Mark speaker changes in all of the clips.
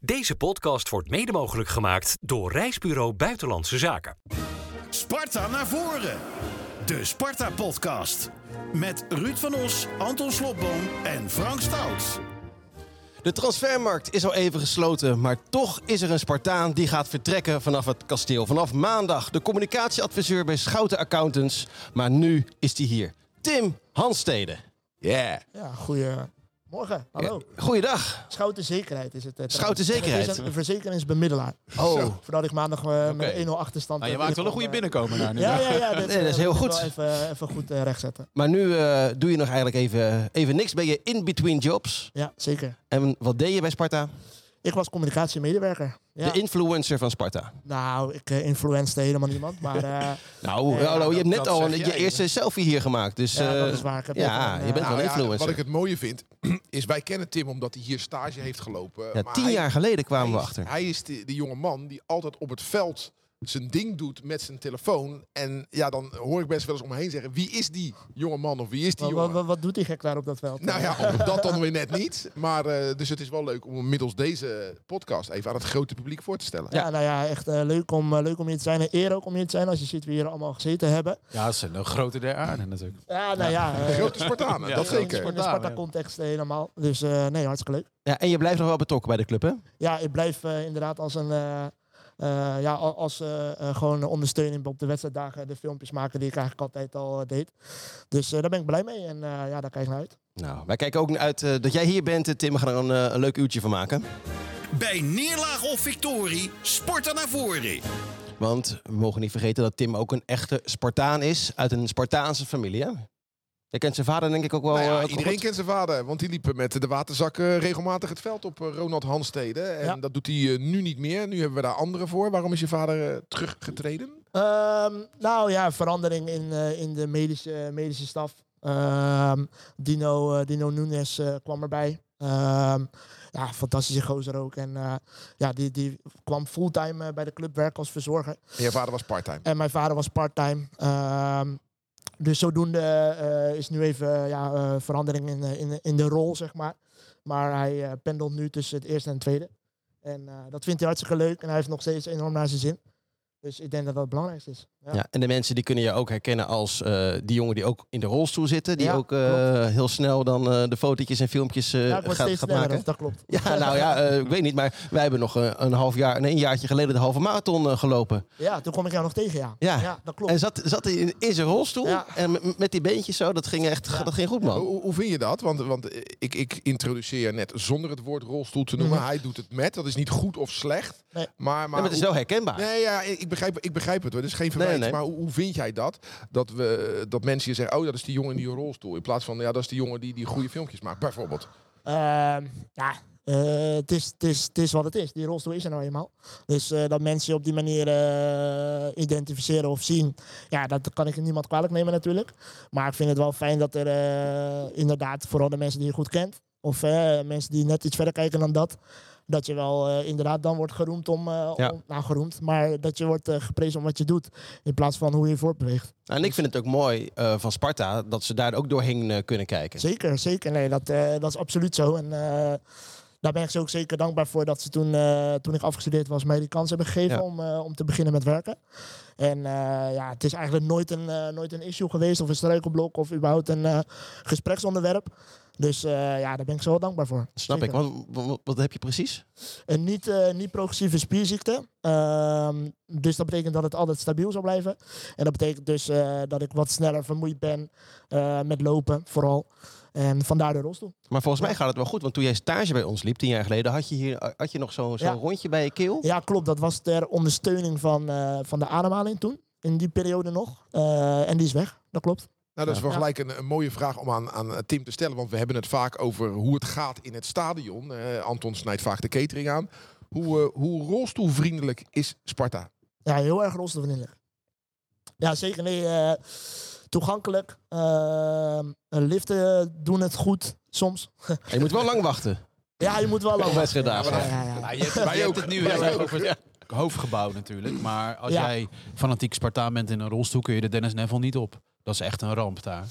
Speaker 1: Deze podcast wordt mede mogelijk gemaakt door Reisbureau Buitenlandse Zaken.
Speaker 2: Sparta naar voren. De Sparta Podcast. Met Ruud van Os, Anton Slobboom en Frank Stout.
Speaker 3: De transfermarkt is al even gesloten, maar toch is er een Spartaan die gaat vertrekken vanaf het kasteel. Vanaf maandag de communicatieadviseur bij Schouten Accountants, maar nu is hij hier. Tim Hanstede. Yeah.
Speaker 4: Ja, goedemorgen. Hallo.
Speaker 3: Goeiedag.
Speaker 4: Schouten Zekerheid is het. eh,
Speaker 3: Schouten
Speaker 4: trouwens. En
Speaker 3: Zekerheid.
Speaker 4: Het is een verzekeringsbemiddelaar.
Speaker 3: Oh.
Speaker 4: Zo, Voordat ik maandag eh, met een 1-0 achterstand...
Speaker 5: Nou, je
Speaker 4: eh,
Speaker 5: maakt wel een goede
Speaker 4: binnenkom,
Speaker 5: binnenkomen daar nu.
Speaker 4: eh. Ja, ja, ja.
Speaker 3: Nee, dat is heel
Speaker 4: moet ik
Speaker 3: goed.
Speaker 4: wel Even, even goed eh, rechtzetten.
Speaker 3: Maar nu eh, doe je nog eigenlijk even, even niks. Ben je in between jobs?
Speaker 4: Ja, zeker.
Speaker 3: En wat deed je bij Sparta?
Speaker 4: Ik was communicatiemedewerker. Ja.
Speaker 3: De influencer van Sparta.
Speaker 4: nou, ik eh, influenced helemaal niemand, maar... eh,
Speaker 3: Nou,
Speaker 4: Nee,
Speaker 3: hallo, je hebt net
Speaker 5: dat
Speaker 3: al
Speaker 5: zeg
Speaker 3: een,
Speaker 5: jij.
Speaker 3: je eerste selfie hier gemaakt. Dus,
Speaker 4: Ja, dat
Speaker 3: eh,
Speaker 4: is waar. Ik heb
Speaker 3: ja,
Speaker 4: net een,
Speaker 3: je bent
Speaker 4: eh,
Speaker 3: wel een
Speaker 6: Nou ja,
Speaker 3: influencer.
Speaker 6: Wat ik het mooie vind, is wij kennen Tim omdat hij hier stage heeft gelopen.
Speaker 3: Ja,
Speaker 6: maar
Speaker 3: tien
Speaker 6: hij-
Speaker 3: jaar geleden kwamen
Speaker 6: hij
Speaker 3: we
Speaker 6: is-
Speaker 3: achter.
Speaker 6: Hij is de, de jonge man die altijd op het veld zijn ding doet met zijn telefoon. En ja, dan hoor ik best wel eens omheen zeggen, wie is die jonge man of wie is die
Speaker 4: wat,
Speaker 6: jongen?
Speaker 4: wat, wat, wat doet die gek daar op dat veld?
Speaker 6: Nou ja, op dat dan weer net niet. Maar eh, dus het is wel leuk om middels deze podcast even aan het grote publiek voor te stellen.
Speaker 4: Ja, nou ja, echt eh, leuk, om, eh, leuk om hier te zijn. En eer ook om hier te zijn als je ziet wie hier allemaal gezeten hebben.
Speaker 5: Ja, dat is een grote der aarde natuurlijk.
Speaker 4: Ja, nou ja. eh,
Speaker 6: De grote Spartanen,
Speaker 5: Ja,
Speaker 6: dat
Speaker 5: de
Speaker 4: in-
Speaker 5: grote
Speaker 6: zeker.
Speaker 4: In de
Speaker 5: Spartaan, ja.
Speaker 4: Sparta-context eh, helemaal. Dus eh, nee, hartstikke leuk.
Speaker 3: Ja, en je blijft nog wel betrokken bij de club, hè?
Speaker 4: ja, ik blijf eh, inderdaad als een. eh, eh, ja, al- als eh, eh, gewoon ondersteuning op de wedstrijddagen de filmpjes maken die ik eigenlijk altijd al eh, deed. Dus eh, daar ben ik blij mee en eh, ja, daar kijk ik naar uit.
Speaker 3: Nou, wij kijken ook uit eh, dat jij hier bent, eh, Tim. We gaan er een, eh, een leuk uurtje van maken.
Speaker 2: Bij neerlaag of victorie, Sparta naar voren.
Speaker 3: Want we mogen niet vergeten dat Tim ook een echte Spartaan is. Uit een Spartaanse familie, hè? Jij kent zijn vader denk ik ook wel.
Speaker 6: Nou ja,
Speaker 3: eh, ook
Speaker 6: iedereen
Speaker 3: goed.
Speaker 6: kent zijn vader, want die liepen met de waterzakken regelmatig het veld op eh, Ronald Hanstede. En
Speaker 4: Ja.
Speaker 6: dat doet hij eh, nu niet meer. Nu hebben we daar anderen voor. Waarom is je vader eh, teruggetreden?
Speaker 4: Ehm, nou ja, verandering in, eh, in de medische, medische staf. Ehm, Dino, eh, Dino Nunes eh, kwam erbij. Ehm, ja, fantastische gozer ook. En eh, ja, die, die kwam fulltime eh, bij de club werken als verzorger.
Speaker 6: En je vader was parttime.
Speaker 4: En mijn vader was part-time. Ehm, dus zodoende eh, is nu even eh, ja, eh, verandering in, eh, in, in de rol, zeg maar. Maar hij eh, pendelt nu tussen het eerste en het tweede. En eh, dat vindt hij hartstikke leuk. En hij heeft nog steeds enorm naar zijn zin. Dus ik denk dat dat het belangrijkste is. Ja.
Speaker 3: Ja, en de mensen die kunnen je ook herkennen als eh, die jongen die ook in de rolstoel zitten. Die
Speaker 4: Ja,
Speaker 3: ook eh, heel snel dan eh, de fotootjes en filmpjes eh
Speaker 4: Ja, ik word
Speaker 3: gaat,
Speaker 4: steeds
Speaker 3: gaat
Speaker 4: sneller,
Speaker 3: maken.
Speaker 4: dat klopt.
Speaker 3: Ja, nou ja, eh, ik weet niet. Maar wij hebben nog eh, een half jaar, nee, een jaartje geleden de halve marathon eh, gelopen.
Speaker 4: Ja, toen kwam ik jou nog tegen, ja.
Speaker 3: Ja.
Speaker 4: dat klopt.
Speaker 3: En zat, zat hij in, in zijn rolstoel.
Speaker 4: Ja.
Speaker 3: En met- met die beentjes zo, dat ging echt dat ging goed, man.
Speaker 6: Hoe, hoe vind je dat? Want, want eh, ik, ik introduceer net zonder het woord rolstoel te noemen. Hij doet het met. Dat is niet goed of slecht.
Speaker 4: Mhm. Nee.
Speaker 6: Maar,
Speaker 3: Ja,
Speaker 6: maar
Speaker 3: maar het is
Speaker 6: hoe-
Speaker 3: wel herkenbaar.
Speaker 6: Nee, ja, ik ik begrijp, ik begrijp het. hoor. Het is geen verwijt.
Speaker 3: Nee, nee.
Speaker 6: Maar hoe, hoe vind jij dat? Dat, we, dat mensen je zeggen, oh, dat is die jongen in die rolstoel. In plaats van, ja, dat is die jongen die, die goede filmpjes maakt, bijvoorbeeld.
Speaker 4: Ehm, ja, eh, het is- het is- het is wat het is. Die rolstoel is er nou eenmaal. Dus eh, dat mensen je op die manier eh, identificeren of zien, ja, dat kan ik niemand kwalijk nemen natuurlijk. Maar ik vind het wel fijn dat er eh, inderdaad, vooral de mensen die je goed kent, of eh, mensen die net iets verder kijken dan dat, dat je wel eh, inderdaad dan wordt geroemd om, eh,
Speaker 3: Ja.
Speaker 4: om- nou geroemd, maar dat je wordt eh, geprezen om wat je doet, in plaats van hoe je voortbeweegt.
Speaker 3: Nou, en ik vind het ook mooi eh, van Sparta dat ze daar ook doorheen eh, kunnen kijken.
Speaker 4: Zeker, zeker. Nee, dat, eh, dat is absoluut zo. En eh, daar ben ik ze ook zeker dankbaar voor dat ze toen, eh, toen ik afgestudeerd was, mij die kans hebben gegeven
Speaker 3: Ja.
Speaker 4: om, eh, om te beginnen met werken. En eh, ja, het is eigenlijk nooit een, eh, nooit een issue geweest of een struikelblok of überhaupt een eh, gespreksonderwerp. Dus eh, ja, daar ben ik zo wel dankbaar voor.
Speaker 3: Snap
Speaker 4: Zeker.
Speaker 3: ik. Want wa- wa- wat heb je precies?
Speaker 4: Een niet, eh, niet progressieve spierziekte. Ehm, dus dat betekent dat het altijd stabiel zal blijven. En dat betekent dus eh, dat ik wat sneller vermoeid ben eh, met lopen vooral. En vandaar de rolstoel.
Speaker 3: Maar volgens mij gaat het wel goed. Want toen jij stage bij ons liep, tien jaar geleden, had je, hier, had je nog zo'n zo'n
Speaker 4: Ja.
Speaker 3: rondje bij je keel.
Speaker 4: Ja, klopt. Dat was ter ondersteuning van, eh, van de ademhaling toen. In die periode nog. Eh, en die is weg. Dat klopt.
Speaker 6: Nou, dat is wel
Speaker 4: Ja.
Speaker 6: gelijk een, een mooie vraag om aan, aan eh, Tim te stellen. Want we hebben het vaak over hoe het gaat in het stadion. Eh, Anton snijdt vaak de catering aan. Hoe, eh, hoe rolstoelvriendelijk is Sparta?
Speaker 4: Ja, heel erg rolstoelvriendelijk. Ja, zeker. Nee, eh, toegankelijk. Ehm, liften doen het goed soms.
Speaker 3: Je moet wel lang wachten.
Speaker 4: Ja, je moet wel lang.
Speaker 3: wedstrijddagen.
Speaker 4: Ja, ja, ja.
Speaker 5: je hebt, je hebt het nu heel
Speaker 6: Wij
Speaker 5: erg
Speaker 6: ook.
Speaker 5: over het hoofdgebouw natuurlijk. Maar als
Speaker 4: Ja.
Speaker 5: jij fanatiek Spartaan bent in een rolstoel, kun je de Dennis Neville niet op. Dat is echt een ramp daar.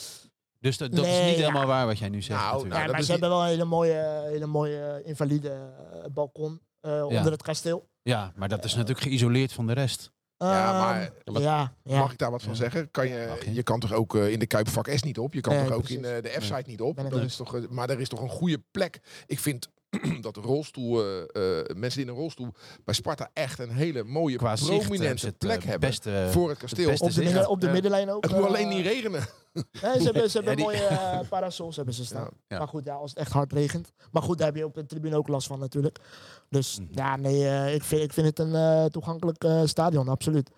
Speaker 5: Dus dat, dat is
Speaker 4: Nee,
Speaker 5: niet
Speaker 4: ja.
Speaker 5: helemaal waar wat jij nu zegt
Speaker 6: Nou,
Speaker 5: natuurlijk.
Speaker 4: Ja,
Speaker 6: dat
Speaker 4: maar
Speaker 6: is
Speaker 4: ze hebben wel een hele mooie, hele mooie invalide eh, balkon. eh, onder het kasteel.
Speaker 6: nou.
Speaker 5: Ja, maar dat is natuurlijk geïsoleerd van de rest.
Speaker 6: Ja,
Speaker 4: Ehm,
Speaker 6: maar-
Speaker 4: ja, ja,
Speaker 6: Mag ik daar wat van
Speaker 5: Ja.
Speaker 6: zeggen? Kan je,
Speaker 5: Mag je.
Speaker 6: je kan toch ook eh, in de Kuip vak S niet op? Je kan
Speaker 4: Nee,
Speaker 6: toch ook in
Speaker 4: precies.
Speaker 6: eh, de F-site niet op?
Speaker 4: Ben ik
Speaker 6: Dat
Speaker 4: niet.
Speaker 6: is toch, eh, maar er is toch een goede plek. Ik vind dat de rolstoel, eh, eh, mensen die in een rolstoel bij Sparta echt een hele mooie,
Speaker 5: Qua zicht, eh,
Speaker 6: prominente
Speaker 5: zit, eh,
Speaker 6: plek hebben
Speaker 5: beste-
Speaker 6: voor het kasteel.
Speaker 5: beste
Speaker 4: op de,
Speaker 5: zicht.
Speaker 4: midden- op de
Speaker 6: Ja.
Speaker 4: middenlijn ook.
Speaker 6: het moet
Speaker 4: eh,
Speaker 6: alleen niet regenen.
Speaker 4: Nee, ze hebben, ze
Speaker 5: Ja,
Speaker 4: hebben
Speaker 5: die-
Speaker 4: mooie eh, parasols hebben ze staan.
Speaker 6: Ja,
Speaker 5: ja.
Speaker 4: Maar goed, ja, als het echt hard regent. Maar goed, daar heb je op de tribune ook last van natuurlijk. Dus
Speaker 5: Mhm.
Speaker 4: ja, nee, eh, ik, vind, ik vind het een eh, toegankelijk eh, stadion, absoluut.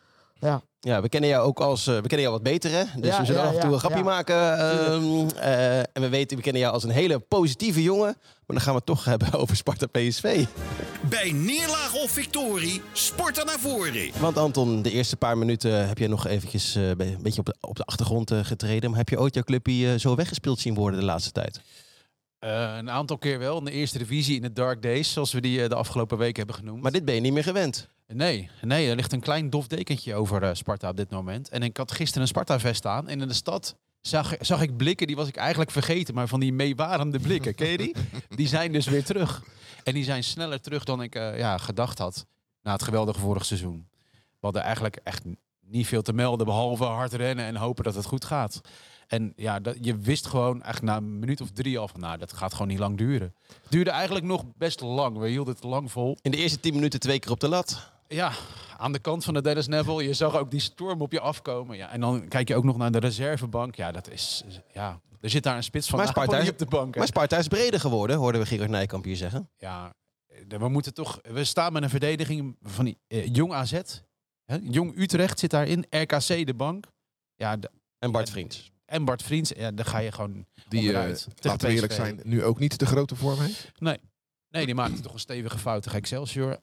Speaker 3: Ja, we kennen jou ook als... eh, we kennen jou wat beter, hè? Dus
Speaker 4: Ja,
Speaker 3: we zullen
Speaker 4: ja,
Speaker 3: af en toe
Speaker 4: ja,
Speaker 3: een grapje
Speaker 4: ja.
Speaker 3: maken. ehm, eh, en we weten, we kennen jou als een hele positieve jongen. Maar dan gaan we het toch hebben over Sparta PSV.
Speaker 2: Bij neerlaag of victorie, Sparta naar voren.
Speaker 3: Want Anton, de eerste paar minuten heb jij nog eventjes eh, be- een beetje op de, op de achtergrond eh, getreden. Maar heb je ooit jouw clubje eh, zo weggespeeld zien worden de laatste tijd?
Speaker 5: Eh, een aantal keer wel. In de eerste divisie in de Dark Days, zoals we die eh, de afgelopen weken hebben genoemd.
Speaker 3: Maar dit ben je niet meer gewend.
Speaker 5: Nee, nee, er ligt een klein dof dekentje over eh, Sparta op dit moment. En ik had gisteren een Sparta-vest aan. En in de stad zag, zag ik blikken, die was ik eigenlijk vergeten. Maar van die meewarende blikken, ken je die? Die zijn dus weer terug. En die zijn sneller terug dan ik eh, ja, gedacht had na het geweldige vorig seizoen. We hadden eigenlijk echt n- niet veel te melden, behalve hard rennen en hopen dat het goed gaat. En ja, dat, je wist gewoon echt na een minuut of drie al van, nou, dat gaat gewoon niet lang duren. Het duurde eigenlijk nog best lang. We hielden het lang vol.
Speaker 3: In de eerste tien minuten twee keer op de lat.
Speaker 5: Ja, aan de kant van de Dennis Neville. Je zag ook die storm op je afkomen. Ja, en dan kijk je ook nog naar de reservebank. Ja, dat is... Ja, er zit daar een spits van
Speaker 3: Maar Sparta
Speaker 5: Napoli
Speaker 3: is-
Speaker 5: op de bank. hè.
Speaker 3: Maar Sparta is breder geworden, hoorden we Gerard Nijkamp hier zeggen.
Speaker 5: Ja, eh, we moeten toch... We staan met een verdediging van die, eh, Jong AZ. Hè? Jong Utrecht zit daarin. RKC de bank. Ja, de-
Speaker 3: En Bart Vriends.
Speaker 5: en Bart Vriends. Ja, daar ga je gewoon
Speaker 6: Die, eh,
Speaker 5: onderuit. Tegen
Speaker 6: laten we eerlijk
Speaker 5: PSV.
Speaker 6: zijn, nu ook niet de grote vorm heeft.
Speaker 5: Nee, die maakte toch een stevige fout tegen Excelsior.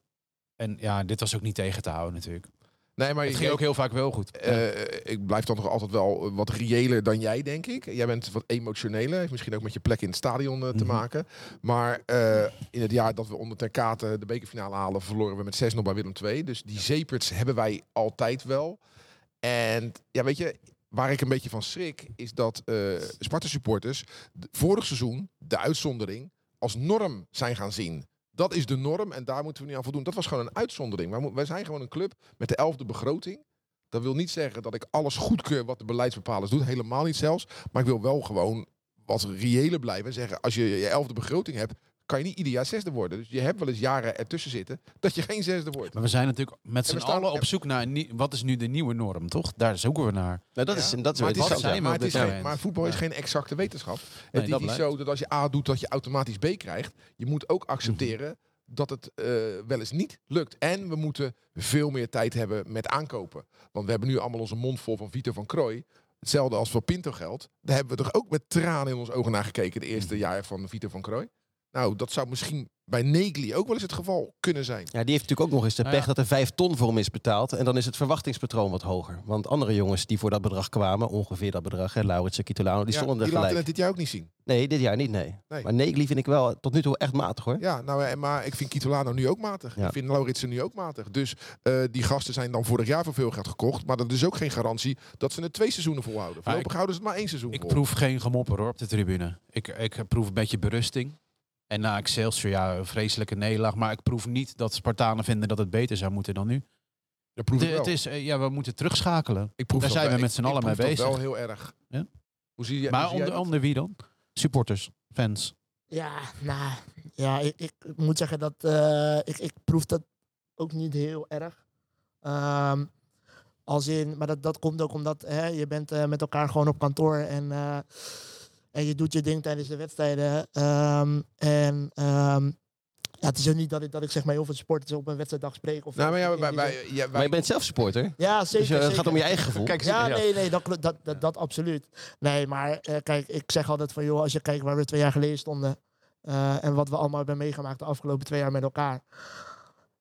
Speaker 5: En ja, dit was ook niet tegen te houden natuurlijk.
Speaker 6: Nee, maar
Speaker 5: Het
Speaker 6: je-
Speaker 5: ging ook heel vaak wel goed.
Speaker 6: Eh, ik blijf dan nog altijd wel eh, wat reëler dan jij, denk ik. Jij bent wat emotioneler. Heeft misschien ook met je plek in het stadion eh, te
Speaker 5: Mhm.
Speaker 6: maken. Maar eh, in het jaar dat we onder Ter Kate de bekerfinale halen... verloren we met 6-0 bij Willem II. Dus die zeeperts hebben wij altijd wel. En ja, weet je... Waar ik een beetje van schrik, is dat eh Sparta-supporters d- vorig seizoen de uitzondering als norm zijn gaan zien. Dat is de norm en daar moeten we niet aan voldoen. Dat was gewoon een uitzondering. Wij, mo- wij zijn gewoon een club met de elfde begroting. Dat wil niet zeggen dat ik alles goedkeur wat de beleidsbepalers doen. Helemaal niet zelfs. Maar ik wil wel gewoon wat reëler blijven. En zeggen, als je je elfde begroting hebt, kan je niet ieder jaar zesde worden. Dus je hebt wel eens jaren ertussen zitten dat je geen zesde wordt.
Speaker 5: Maar we zijn natuurlijk met z'n
Speaker 6: we staan-
Speaker 5: allen op zoek naar een nie- wat is nu de nieuwe norm, toch? Daar zoeken we naar.
Speaker 3: Nou, dat
Speaker 6: Ja,
Speaker 3: is, dat is
Speaker 6: maar,
Speaker 3: wel
Speaker 6: het is,
Speaker 5: wat
Speaker 3: interessant.
Speaker 5: zijn
Speaker 3: ja.
Speaker 5: we
Speaker 6: maar,
Speaker 5: op
Speaker 6: het is
Speaker 5: dit
Speaker 6: geen,
Speaker 5: moment?
Speaker 6: maar voetbal is
Speaker 5: Ja.
Speaker 6: geen exacte wetenschap.
Speaker 5: Nee,
Speaker 6: het
Speaker 5: dat
Speaker 6: is niet
Speaker 5: blijkt.
Speaker 6: zo dat als je A doet, dat je automatisch B krijgt. Je moet ook accepteren dat het eh, wel eens niet lukt. En we moeten veel meer tijd hebben met aankopen. Want we hebben nu allemaal onze mond vol van Vito van Krooi. Hetzelfde als voor Pinto geldt. Daar hebben we toch ook met tranen in ons ogen naar gekeken... de eerste jaar van Vito van Krooi. Nou, dat zou misschien bij Negli ook wel eens het geval kunnen zijn.
Speaker 3: Ja, die heeft natuurlijk ook nog eens de
Speaker 5: Nou
Speaker 3: pech
Speaker 5: ja.
Speaker 3: dat er vijf ton voor hem is betaald. En dan is het verwachtingspatroon wat hoger. Want andere jongens die voor dat bedrag kwamen, ongeveer dat bedrag, hè, Laurits en Kitolano, die
Speaker 6: Ja,
Speaker 3: stonden er
Speaker 6: die laten
Speaker 3: gelijk.
Speaker 6: het dit jaar ook niet zien.
Speaker 3: Nee, dit jaar niet, nee.
Speaker 6: Nee.
Speaker 3: Maar Negli vind ik wel tot nu toe echt matig hoor.
Speaker 6: Ja, nou, eh, maar ik vind Kitolano nu ook matig.
Speaker 3: Ja.
Speaker 6: Ik vind Lauritsen nu ook matig. Dus eh, die gasten zijn dan vorig jaar voor veel geld gekocht. Maar dat is ook geen garantie dat ze het twee seizoenen volhouden. Voorlopig
Speaker 5: ik-
Speaker 6: houden ze het maar één seizoen
Speaker 5: Ik
Speaker 6: vol.
Speaker 5: proef geen gemopper hoor, op de tribune. Ik, ik proef een beetje berusting. En na Excelsior, ja, een vreselijke nederlaag. Maar ik proef niet dat Spartanen vinden dat het beter zou moeten dan nu.
Speaker 6: dat proef
Speaker 5: De-
Speaker 6: ik wel.
Speaker 5: het is, eh, ja, we moeten terugschakelen.
Speaker 6: ik proef
Speaker 5: daar
Speaker 6: dat
Speaker 5: zijn we
Speaker 6: wel.
Speaker 5: met
Speaker 6: Ik-
Speaker 5: z'n allen
Speaker 6: ik
Speaker 5: mee
Speaker 6: proef dat
Speaker 5: bezig.
Speaker 6: wel heel erg.
Speaker 5: Ja.
Speaker 6: Hoe zie je
Speaker 5: maar
Speaker 6: hoe zie dus jij
Speaker 5: onder,
Speaker 6: dat?
Speaker 5: onder wie dan? Supporters, fans.
Speaker 4: Ja, nou, ja, ik, ik moet zeggen dat eh, ik, ik proef dat ook niet heel erg. Ehm, als in, maar dat, dat komt ook omdat hè, je bent eh, met elkaar gewoon op kantoor en, eh, en je doet je ding tijdens de wedstrijden. Ehm, en ehm, ja, het is ook niet dat ik, dat ik zeg maar heel veel supporters op een wedstrijddag spreek. Of
Speaker 6: Nou, maar ja,
Speaker 4: in
Speaker 6: wij,
Speaker 4: die zin.
Speaker 6: wij- ja,
Speaker 3: Maar
Speaker 6: wij-
Speaker 3: je bent zelf supporter.
Speaker 4: ja, zeker.
Speaker 3: Dus eh, het
Speaker 4: zeker.
Speaker 3: gaat om je eigen gevoel.
Speaker 5: Kijk,
Speaker 4: Ja,
Speaker 5: ja.
Speaker 4: nee, nee, dat, klo- dat, dat, dat absoluut. Nee, maar eh, kijk, ik zeg altijd van joh, als je kijkt waar we twee jaar geleden stonden eh, en wat we allemaal hebben meegemaakt de afgelopen twee jaar met elkaar.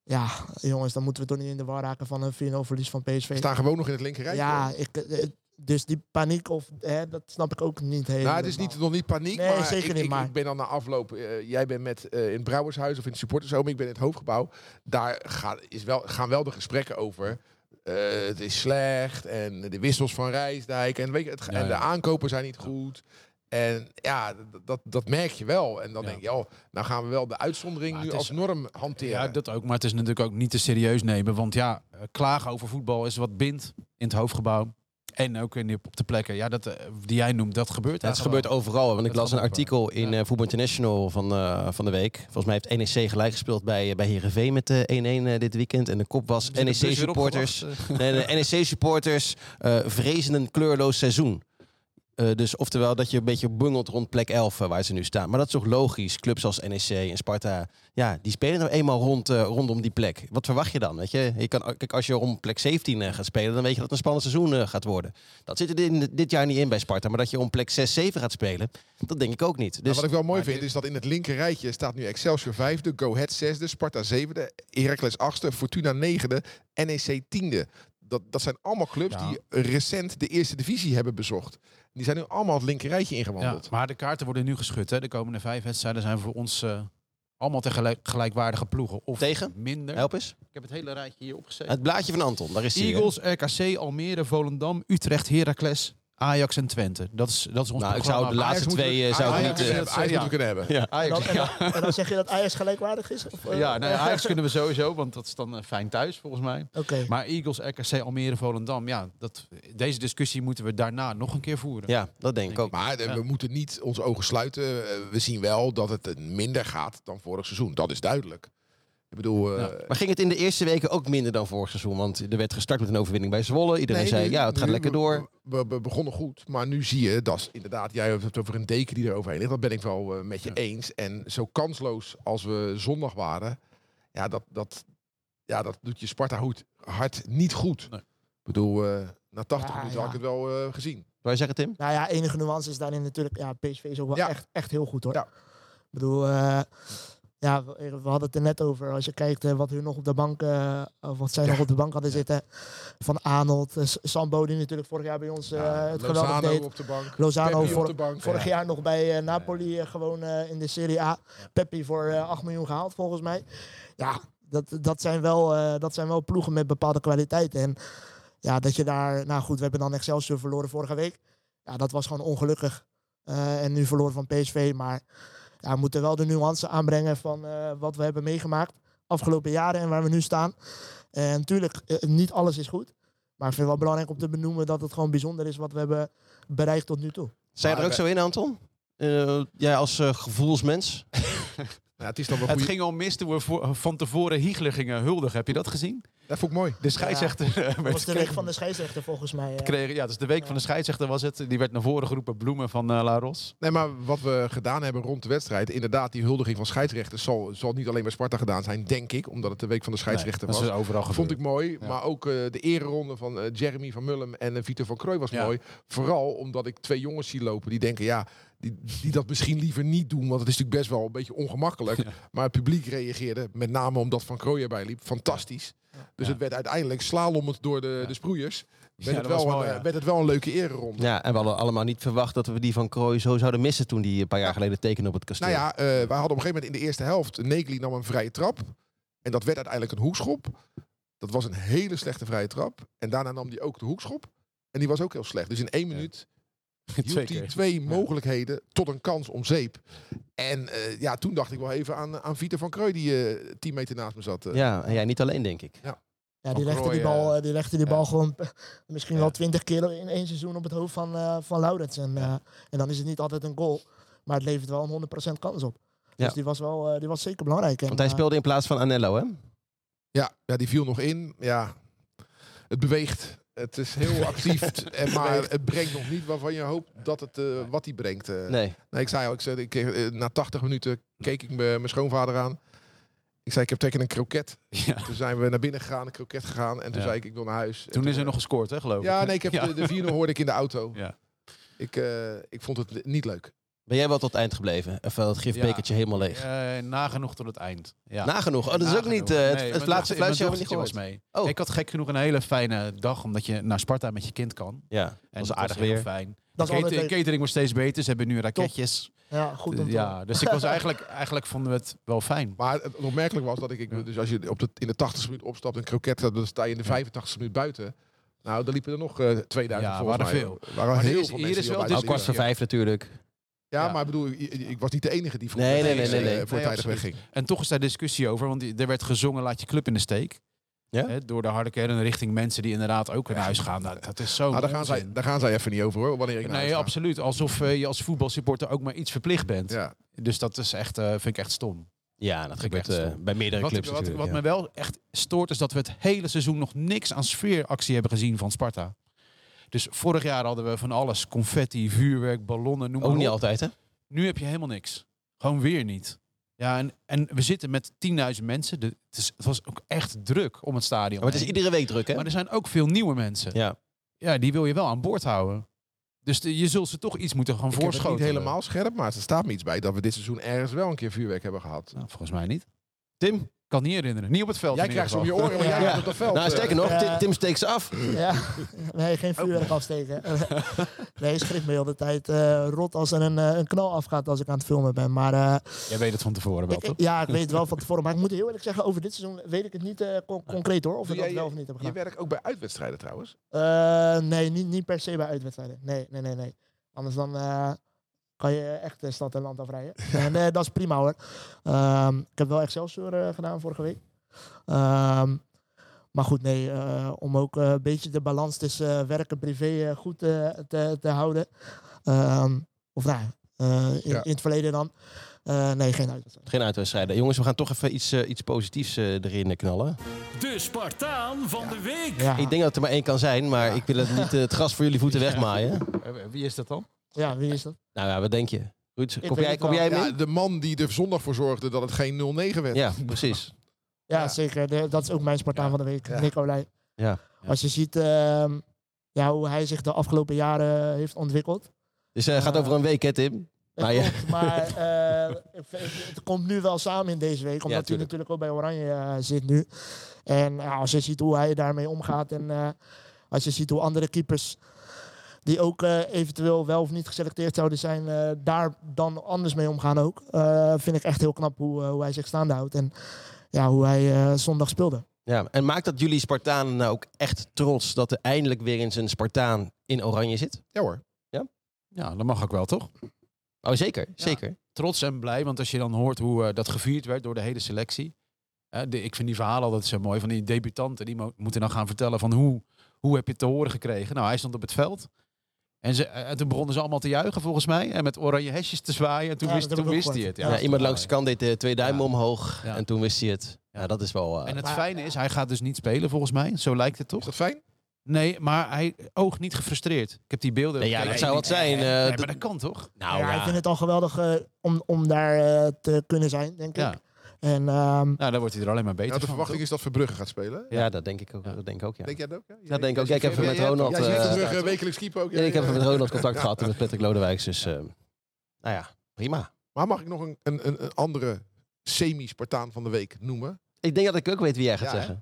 Speaker 4: Ja, jongens, dan moeten we toch niet in de war raken van een 4-0 verlies van
Speaker 6: we
Speaker 4: PSV.
Speaker 6: staan gewoon nog in het linkerrijtje.
Speaker 4: ja, ik, eh, dus die paniek, of, hè, dat snap ik ook niet helemaal.
Speaker 6: Nou, het is niet, nog niet paniek,
Speaker 4: Nee,
Speaker 6: maar,
Speaker 4: zeker
Speaker 6: ik,
Speaker 4: niet,
Speaker 6: ik,
Speaker 4: maar-
Speaker 6: ik ben dan na afloop. eh, jij bent met eh, in het Brouwershuis of in het supportershome, ik ben in het hoofdgebouw. Daar ga- is wel, gaan wel de gesprekken over. eh, het is slecht en de wissels van Rijsdijk en, weet je, het, ga-
Speaker 5: Ja,
Speaker 6: en de
Speaker 5: ja.
Speaker 6: aankopen zijn niet goed. En ja, d- dat, dat merk je wel. En dan
Speaker 5: Ja.
Speaker 6: denk je, oh, nou gaan we wel de uitzondering
Speaker 5: Maar
Speaker 6: nu
Speaker 5: het
Speaker 6: als
Speaker 5: is-
Speaker 6: norm hanteren.
Speaker 5: Ja, dat ook. Maar het is natuurlijk ook niet te serieus nemen. Want ja, eh, klagen over voetbal is wat bindt in het hoofdgebouw. En ook in die, op de plekken ja, dat, eh, die jij noemt, dat gebeurt. daar
Speaker 3: het
Speaker 5: gewoon.
Speaker 3: gebeurt overal. Want ik
Speaker 5: Dat
Speaker 3: las een
Speaker 5: gebeurt
Speaker 3: artikel in eh Voetbal International van, eh, van de week. Volgens mij heeft NEC gelijk gespeeld bij, eh, bij Heerenveen met eh, 1-1 eh, dit weekend. En de kop was E
Speaker 5: Zit de bus weer
Speaker 3: NEC-supporters
Speaker 5: opgewacht?
Speaker 3: nee, de NEC-supporters eh, vrezen een kleurloos seizoen. Eh, dus oftewel dat je een beetje bungelt rond plek 11 eh, waar ze nu staan. Maar dat is toch logisch. Clubs als NEC en Sparta, ja, die spelen nou eenmaal rond, eh, rondom die plek. Wat verwacht je dan? Weet je? Je kan, kijk, als je om plek 17 eh, gaat spelen, dan weet je dat het een spannend seizoen eh, gaat worden. Dat zit er in, dit jaar niet in bij Sparta. Maar dat je om plek 6, 7 gaat spelen, dat denk ik ook niet.
Speaker 6: Maar
Speaker 3: Dus
Speaker 6: Nou, wat ik wel mooi
Speaker 5: maar
Speaker 6: vind,
Speaker 5: dit-
Speaker 6: is dat in het linker rijtje staat nu Excelsior vijfde, Go Ahead zesde, Sparta zevende, Heracles achtste, Fortuna negende, NEC tiende. Dat, dat zijn allemaal clubs
Speaker 5: Ja.
Speaker 6: die recent de eerste divisie hebben bezocht. Die zijn nu allemaal het linker rijtje
Speaker 5: Ja,
Speaker 6: ingewandeld.
Speaker 5: maar de kaarten worden nu geschud. Hè. De komende vijf wedstrijden zijn voor ons eh, allemaal tegelijk gelijkwaardige ploegen. Of
Speaker 3: Tegen?
Speaker 5: minder.
Speaker 3: help eens.
Speaker 5: Ik heb het hele rijtje hier opgeschreven.
Speaker 3: Het blaadje van Anton, daar is hij. hè?
Speaker 5: Eagles, RKC, Almere, Volendam, Utrecht, Heracles, Ajax en Twente. Dat is, dat is ons
Speaker 3: Nou, ik zou
Speaker 5: programma.
Speaker 3: de laatste
Speaker 6: moeten we-
Speaker 3: twee eh, zou ik
Speaker 6: Ajax
Speaker 3: niet... eh,
Speaker 6: moeten we- Ajax moeten we kunnen hebben.
Speaker 5: Ajax,
Speaker 4: Dan, en, dan, en dan zeg je dat Ajax gelijkwaardig is? Of, eh,
Speaker 5: Ja, nou, ja, Ajax kunnen we sowieso, want dat is dan eh, fijn thuis volgens mij.
Speaker 4: Oké.
Speaker 5: Maar Eagles, RKC, Almere, Volendam, ja, dat, deze discussie moeten we daarna nog een keer voeren.
Speaker 3: ja, dat denk ik ook.
Speaker 6: Maar eh, we moeten niet onze ogen sluiten. Eh, We zien wel dat het eh, minder gaat dan vorig seizoen. Dat is duidelijk. Ik bedoel, eh,
Speaker 3: Maar ging het in de eerste weken ook minder dan vorig seizoen? Want er werd gestart met een overwinning bij Zwolle. Iedereen
Speaker 6: Nee,
Speaker 3: zei,
Speaker 6: nu-
Speaker 3: ja, het gaat
Speaker 6: nu-
Speaker 3: lekker door.
Speaker 6: We, we begonnen goed, maar nu zie je dat is inderdaad, jij hebt het over een deken die er overheen ligt. Dat ben ik wel eh, met je
Speaker 5: Ja.
Speaker 6: eens. En zo kansloos als we zondag waren, ja, dat, dat, ja, dat doet je Sparta hoed, hart niet goed.
Speaker 5: Nee.
Speaker 6: Ik bedoel, eh, na 80
Speaker 4: Ja,
Speaker 6: minuten
Speaker 4: ja.
Speaker 6: had ik het wel eh, gezien.
Speaker 3: Wou je zeggen, Tim?
Speaker 4: Nou ja, enige nuance is daarin natuurlijk... Ja, PSV is ook wel
Speaker 6: Ja.
Speaker 4: echt, echt heel goed hoor.
Speaker 6: Ja.
Speaker 4: Ik bedoel... eh, ja, we eh, we hadden het er net over. Als je kijkt eh, wat hun nog op de bank, eh, of wat zij nog op de bank hadden zitten. Van Arnold, eh, S- Sambo die natuurlijk vorig jaar bij ons eh, het geweldig
Speaker 6: Lozano
Speaker 4: deed.
Speaker 6: op de bank.
Speaker 4: Lozano
Speaker 6: Peppi op de
Speaker 4: vor,
Speaker 6: bank.
Speaker 4: vorig jaar nog bij eh, Napoli eh, gewoon eh, in de Serie A. Peppi voor eh, 8 miljoen gehaald volgens mij. Ja, dat, dat, zijn wel, eh, dat zijn wel ploegen met bepaalde kwaliteiten. En ja, dat je daar... Nou goed, we hebben dan Excelsior verloren vorige week. Ja, dat was gewoon ongelukkig. Eh, en nu verloren van PSV. Maar ja, we moeten wel de nuance aanbrengen van eh, wat we hebben meegemaakt. Afgelopen jaren en waar we nu staan. En natuurlijk, eh, niet alles is goed. Maar ik vind het wel belangrijk om te benoemen dat het gewoon bijzonder is wat we hebben bereikt tot nu toe.
Speaker 3: Zijn
Speaker 6: Maar
Speaker 3: er ook zo in, Anton? Eh, jij als eh, gevoelsmens?
Speaker 6: Ja, het is dan wel
Speaker 5: Het
Speaker 6: goed.
Speaker 5: ging al mis toen we voor- eh, van tevoren Hiegler gingen huldigen. Heb je dat gezien?
Speaker 6: Dat vond ik mooi. Dus,
Speaker 5: De scheidsrechter eh,
Speaker 4: Dat
Speaker 5: werd
Speaker 4: was de week van de scheidsrechter volgens mij. eh.
Speaker 5: kregen- ja, dus de week van de scheidsrechter was het. Die werd naar voren geroepen, bloemen van eh La Ros.
Speaker 6: Nee, maar wat we gedaan hebben rond de wedstrijd, inderdaad, die huldiging van scheidsrechters zal, zal niet alleen bij Sparta gedaan zijn, denk ik, omdat het de week van de scheidsrechter was.
Speaker 5: dat is overal gebeurd.
Speaker 6: Vond ik mooi.
Speaker 5: Ja.
Speaker 6: Maar ook eh, de ereronde van eh, Jeremy van Mullum en eh, Vito van Krooi was
Speaker 5: Ja.
Speaker 6: mooi. Vooral omdat ik twee jongens zie lopen die denken, ja, die, die dat misschien liever niet doen. Want het is natuurlijk best wel een beetje ongemakkelijk. Maar het publiek reageerde, met name omdat Van Krooi erbij liep, fantastisch. Dus
Speaker 5: Ja.
Speaker 6: het werd uiteindelijk slalommend door de, de sproeiers. Werd,
Speaker 5: Ja,
Speaker 6: het
Speaker 5: dat
Speaker 6: wel
Speaker 5: was
Speaker 6: een,
Speaker 5: mooi,
Speaker 6: eh,
Speaker 5: ja.
Speaker 6: werd het wel een leuke ereronde.
Speaker 3: Ja, en we hadden allemaal niet verwacht dat we die van Krooi zo zouden missen toen die een paar jaar geleden tekende op het kasteel.
Speaker 6: Nou ja, eh, wij hadden op een gegeven moment in de eerste helft... Negli nam een vrije trap. En dat werd uiteindelijk een hoekschop. Dat was een hele slechte vrije trap. En daarna nam hij ook de hoekschop. En die was ook heel slecht. Dus in één minuut hield hij twee mogelijkheden tot een kans om zeep. En eh, ja, toen dacht ik wel even aan, aan Vieter van Kreu... die eh tien meter naast me zat. eh.
Speaker 3: Ja, en jij niet alleen, denk ik.
Speaker 4: ja, die
Speaker 6: Van
Speaker 4: legde die
Speaker 6: Krooij,
Speaker 4: bal, eh, die legde die bal
Speaker 6: ja.
Speaker 4: gewoon misschien wel twintig keer in één seizoen op het hoofd van, eh van Laurens. En, eh, en dan is het niet altijd een goal. Maar het levert wel een 100% kans op. Dus
Speaker 3: Ja.
Speaker 4: die, was wel, eh, die was zeker belangrijk. En,
Speaker 3: Want hij
Speaker 4: eh,
Speaker 3: speelde in plaats van Anello, hè?
Speaker 6: Ja, ja, die viel nog in. Ja, het beweegt. Het is heel actief, en maar het brengt nog niet waarvan je hoopt dat het eh, wat hij brengt. eh.
Speaker 3: Nee.
Speaker 6: Nee, ik zei al, ik zei, ik, kreeg, eh, na 80 minuten keek ik me- mijn schoonvader aan. Ik zei, ik heb tegen een kroket.
Speaker 5: Ja.
Speaker 6: Toen zijn we naar binnen gegaan, een kroket gegaan. En toen
Speaker 5: Ja.
Speaker 6: zei ik, ik wil naar huis. En
Speaker 5: Toen is er nog gescoord, hè, geloof ik.
Speaker 6: Ja, nee, ik heb
Speaker 5: Ja.
Speaker 6: de, de 4 hoorde ik in de auto.
Speaker 5: Ja.
Speaker 6: Ik, eh, ik vond het niet leuk.
Speaker 3: Ben jij wel tot het eind gebleven? Of wel het gifbekertje helemaal leeg?
Speaker 5: Eh, nagenoeg tot het eind. Ja.
Speaker 3: Nagenoeg. Oh, dat is ook
Speaker 5: Nagenoeg.
Speaker 3: niet... eh, het-
Speaker 5: Nee,
Speaker 3: het
Speaker 5: mijn
Speaker 3: laatste fluitje
Speaker 5: dochter- mijn
Speaker 3: hebben we niet
Speaker 5: dochtertje was
Speaker 3: gehoord.
Speaker 5: mee.
Speaker 3: Oh.
Speaker 5: Ik had gek genoeg een hele fijne dag, omdat je naar Sparta met je kind kan.
Speaker 3: Ja, dat
Speaker 5: En
Speaker 3: was aardig
Speaker 5: heel
Speaker 3: weer.
Speaker 5: fijn.
Speaker 4: Dat
Speaker 5: de
Speaker 4: is altijd
Speaker 5: catering,
Speaker 4: leuk.
Speaker 5: catering wordt steeds beter. Ze hebben nu raketjes.
Speaker 4: Ja, goed om te horen.
Speaker 5: Ja, dus ik was eigenlijk, eigenlijk vonden we het wel fijn.
Speaker 6: Maar het opmerkelijk was dat ik, ik dus als je op de, in de 80ste minuut opstapt een kroket, dan sta je in de 85ste minuut buiten. Nou, dan liepen er nog eh 2000
Speaker 5: Ja,
Speaker 6: volgens
Speaker 5: waren
Speaker 6: mij.
Speaker 5: veel.
Speaker 6: Er waren
Speaker 5: Maar
Speaker 6: heel
Speaker 5: hier is-
Speaker 6: veel
Speaker 5: hier
Speaker 6: mensen
Speaker 5: is
Speaker 6: die
Speaker 5: wel
Speaker 6: al buiten
Speaker 5: discussie.
Speaker 3: Kwart voor
Speaker 6: liepen.
Speaker 3: vijf natuurlijk.
Speaker 6: Ja,
Speaker 5: Ja.
Speaker 6: maar ik bedoel, ik, ik- ik was niet de enige die voor
Speaker 3: Nee, nee, nee, nee, nee.
Speaker 6: voor
Speaker 5: Nee,
Speaker 6: tijdig
Speaker 5: absoluut.
Speaker 6: wegging.
Speaker 5: En toch is daar discussie over, want die- er werd gezongen Laat je club in de steek.
Speaker 3: Ja?
Speaker 5: Hè, door de harde kern richting mensen die inderdaad ook naar huis gaan. Nou, dat is zo.
Speaker 3: Ah,
Speaker 6: Nou, daar, gaan zij,
Speaker 5: onzin.
Speaker 6: daar gaan zij even niet over hoor, wanneer ik naar
Speaker 5: Nee,
Speaker 6: huis ga.
Speaker 5: absoluut. Alsof eh, je als voetbalsupporter ook maar iets verplicht bent.
Speaker 6: Ja.
Speaker 5: Dus dat is echt, eh, vind ik echt stom.
Speaker 3: Ja, dat
Speaker 5: vind ik
Speaker 3: gebeurt
Speaker 5: echt
Speaker 3: eh,
Speaker 5: stom.
Speaker 3: bij meerdere
Speaker 5: Wat,
Speaker 3: clubs
Speaker 5: wat,
Speaker 3: natuurlijk,
Speaker 5: wat
Speaker 3: ja.
Speaker 5: me wel echt stoort is dat we het hele seizoen nog niks aan sfeeractie hebben gezien van Sparta. Dus vorig jaar hadden we van alles. Confetti, vuurwerk, ballonnen, noem maar
Speaker 3: Ook niet
Speaker 5: op.
Speaker 3: altijd, hè?
Speaker 5: Nu heb je helemaal niks. Gewoon weer niet. Ja, en, en we zitten met 10.000 mensen. De, het, is, het was ook echt druk om het stadion.
Speaker 3: Maar het is
Speaker 5: heen.
Speaker 3: iedere week druk, hè?
Speaker 5: maar er zijn ook veel nieuwe mensen.
Speaker 3: Ja.
Speaker 5: Ja, die wil je wel aan boord houden. Dus de- je zult ze toch iets moeten gaan
Speaker 6: Ik heb het
Speaker 5: voorschoten.
Speaker 6: niet helemaal scherp, maar er staat me iets bij dat we dit seizoen ergens wel een keer vuurwerk hebben gehad.
Speaker 5: Nou, volgens mij niet.
Speaker 3: Tim?
Speaker 5: Kan niet herinneren. Niet op het veld.
Speaker 6: Jij
Speaker 5: in ieder
Speaker 6: krijgt ze om je
Speaker 5: geval.
Speaker 6: oren, maar jij
Speaker 4: Ja.
Speaker 6: bent op dat veld.
Speaker 3: Nou,
Speaker 6: eh.
Speaker 3: sterker nog,
Speaker 4: Ja.
Speaker 3: Tim, Tim steekt ze af.
Speaker 4: Ja, nee, geen vuurwerk afsteken. nee, schrik me heel de tijd eh, rot als er een, eh, een knal afgaat als ik aan het filmen ben. Maar eh,
Speaker 5: Jij weet het van tevoren wel,
Speaker 4: ik-
Speaker 5: toch?
Speaker 4: ja, ik weet het wel van tevoren. Maar ik moet heel eerlijk zeggen, over dit seizoen weet ik het niet eh, con- concreet hoor. Of
Speaker 6: Doe
Speaker 4: ik dat
Speaker 6: jij
Speaker 4: wel
Speaker 6: je-
Speaker 4: of niet heb
Speaker 6: Je
Speaker 4: gedaan.
Speaker 6: werkt ook bij uitwedstrijden trouwens.
Speaker 4: Eh, nee, niet, niet per se bij uitwedstrijden. Nee, nee, nee, nee. Anders dan eh, kan je echt eh, stad en land afrijden. En eh, dat is prima hoor. Ehm, ik heb wel Excelsior eh, gedaan vorige week. Ehm, maar goed, nee, eh, om ook eh, een beetje de balans tussen eh, werk en privé eh, goed eh, te, te houden. Ehm, of nou, eh, in,
Speaker 6: Ja.
Speaker 4: in het verleden dan. Eh, nee, geen uitwedstrijd.
Speaker 3: Geen uitwedstrijden. Jongens, we gaan toch even iets, eh, iets positiefs eh, erin eh, knallen.
Speaker 2: De Spartaan van de week.
Speaker 4: Ja,
Speaker 3: Ik denk dat er maar één kan zijn, maar ik wil het niet eh, het gras voor jullie voeten wegmaaien.
Speaker 5: Eh, Wie is dat dan?
Speaker 4: ja, wie is dat?
Speaker 3: Nou ja, wat denk je? Ruud, kom
Speaker 4: weet
Speaker 3: jij,
Speaker 4: het
Speaker 3: kom
Speaker 4: wel.
Speaker 3: jij
Speaker 6: Ja,
Speaker 3: mee?
Speaker 6: de man die er zondag voor zorgde dat het geen 0-9 werd.
Speaker 3: Ja, precies.
Speaker 4: Ja,
Speaker 6: Ja.
Speaker 4: zeker. De- dat is ook mijn Spartaan van de week,
Speaker 6: Ja.
Speaker 4: Nicolai.
Speaker 3: Ja.
Speaker 5: Ja.
Speaker 4: Als je ziet ehm, ja, hoe hij zich de afgelopen jaren eh, heeft ontwikkeld.
Speaker 3: Dus eh gaat over een week, hè Tim?
Speaker 4: Het
Speaker 3: Maar Nou ja.
Speaker 4: komt, maar eh, ik vind- het komt nu wel samen in deze week. Omdat hij
Speaker 3: tuurlijk.
Speaker 4: natuurlijk ook bij Oranje eh, zit nu. En ja, als je ziet hoe hij daarmee omgaat. En eh, als je ziet hoe andere keepers. Die ook eh, eventueel wel of niet geselecteerd zouden zijn, eh, daar dan anders mee omgaan ook. Eh, vind ik echt heel knap hoe, eh, hoe hij zich staande houdt en ja, hoe hij eh, zondag speelde.
Speaker 3: Ja, en maakt dat jullie Spartanen nou ook echt trots dat er eindelijk weer eens een Spartaan in oranje zit?
Speaker 6: Ja hoor.
Speaker 5: Ja, dat mag ook wel, toch?
Speaker 3: Oh, zeker, zeker.
Speaker 5: Trots en blij, want als je dan hoort hoe eh, dat gevierd werd door de hele selectie. Eh, de, ik vind die verhalen altijd zo mooi van die debutanten. Die mo- moeten dan gaan vertellen van hoe, hoe heb je het te horen gekregen. Nou, hij stond op het veld. En, ze, eh, en toen begonnen ze allemaal te juichen, volgens mij. En met oranje hesjes te zwaaien. En toen
Speaker 4: Ja,
Speaker 5: wist,
Speaker 4: dat heb
Speaker 5: toen
Speaker 4: ik ook
Speaker 5: wist hij
Speaker 4: gehoord.
Speaker 5: het.
Speaker 4: Ja,
Speaker 3: Ja, iemand langs de
Speaker 5: kant.
Speaker 3: kant deed eh, twee duimen
Speaker 5: Ja.
Speaker 3: omhoog
Speaker 5: Ja.
Speaker 3: en toen wist hij het. Ja, dat is wel... eh,
Speaker 5: En het
Speaker 4: Maar-
Speaker 5: fijne is, hij gaat dus niet spelen, volgens mij. Zo lijkt het
Speaker 6: Is
Speaker 5: toch?
Speaker 6: dat fijn?
Speaker 5: Nee, maar hij oogt niet gefrustreerd. Ik heb die beelden...
Speaker 3: Nee, ja,
Speaker 5: bekeken.
Speaker 3: dat zou wat zijn, eh,
Speaker 5: nee,
Speaker 3: dat-
Speaker 5: maar dat kan toch?
Speaker 3: nou
Speaker 4: ja,
Speaker 3: ja,
Speaker 4: ik vind het al geweldig eh, om, om daar eh, te kunnen zijn, denk
Speaker 5: Ja.
Speaker 4: ik. En ehm,
Speaker 5: Nou, dan wordt hij er alleen maar beter
Speaker 6: Nou, de
Speaker 5: van,
Speaker 6: verwachting
Speaker 5: toch?
Speaker 6: is dat Verbrugge gaat spelen.
Speaker 3: ja, dat denk ik ook.
Speaker 5: Ja.
Speaker 3: Dat denk ik ook, ja.
Speaker 6: Denk jij dat ook? Ja,
Speaker 3: Dat denk ik ook. Ja, ik heb even met Ronald...
Speaker 6: Jij ziet
Speaker 3: eh,
Speaker 6: Verbrugge wekelijks keeper ook.
Speaker 3: ja, ik heb even met Ronald contact gehad en met Patrick Lodewijks, dus... eh, nou ja, prima.
Speaker 6: Maar mag ik nog een, een, een- een andere semi-Spartaan van de week noemen?
Speaker 3: Ik denk dat ik ook weet wie jij gaat
Speaker 6: Ja, hè?
Speaker 3: zeggen.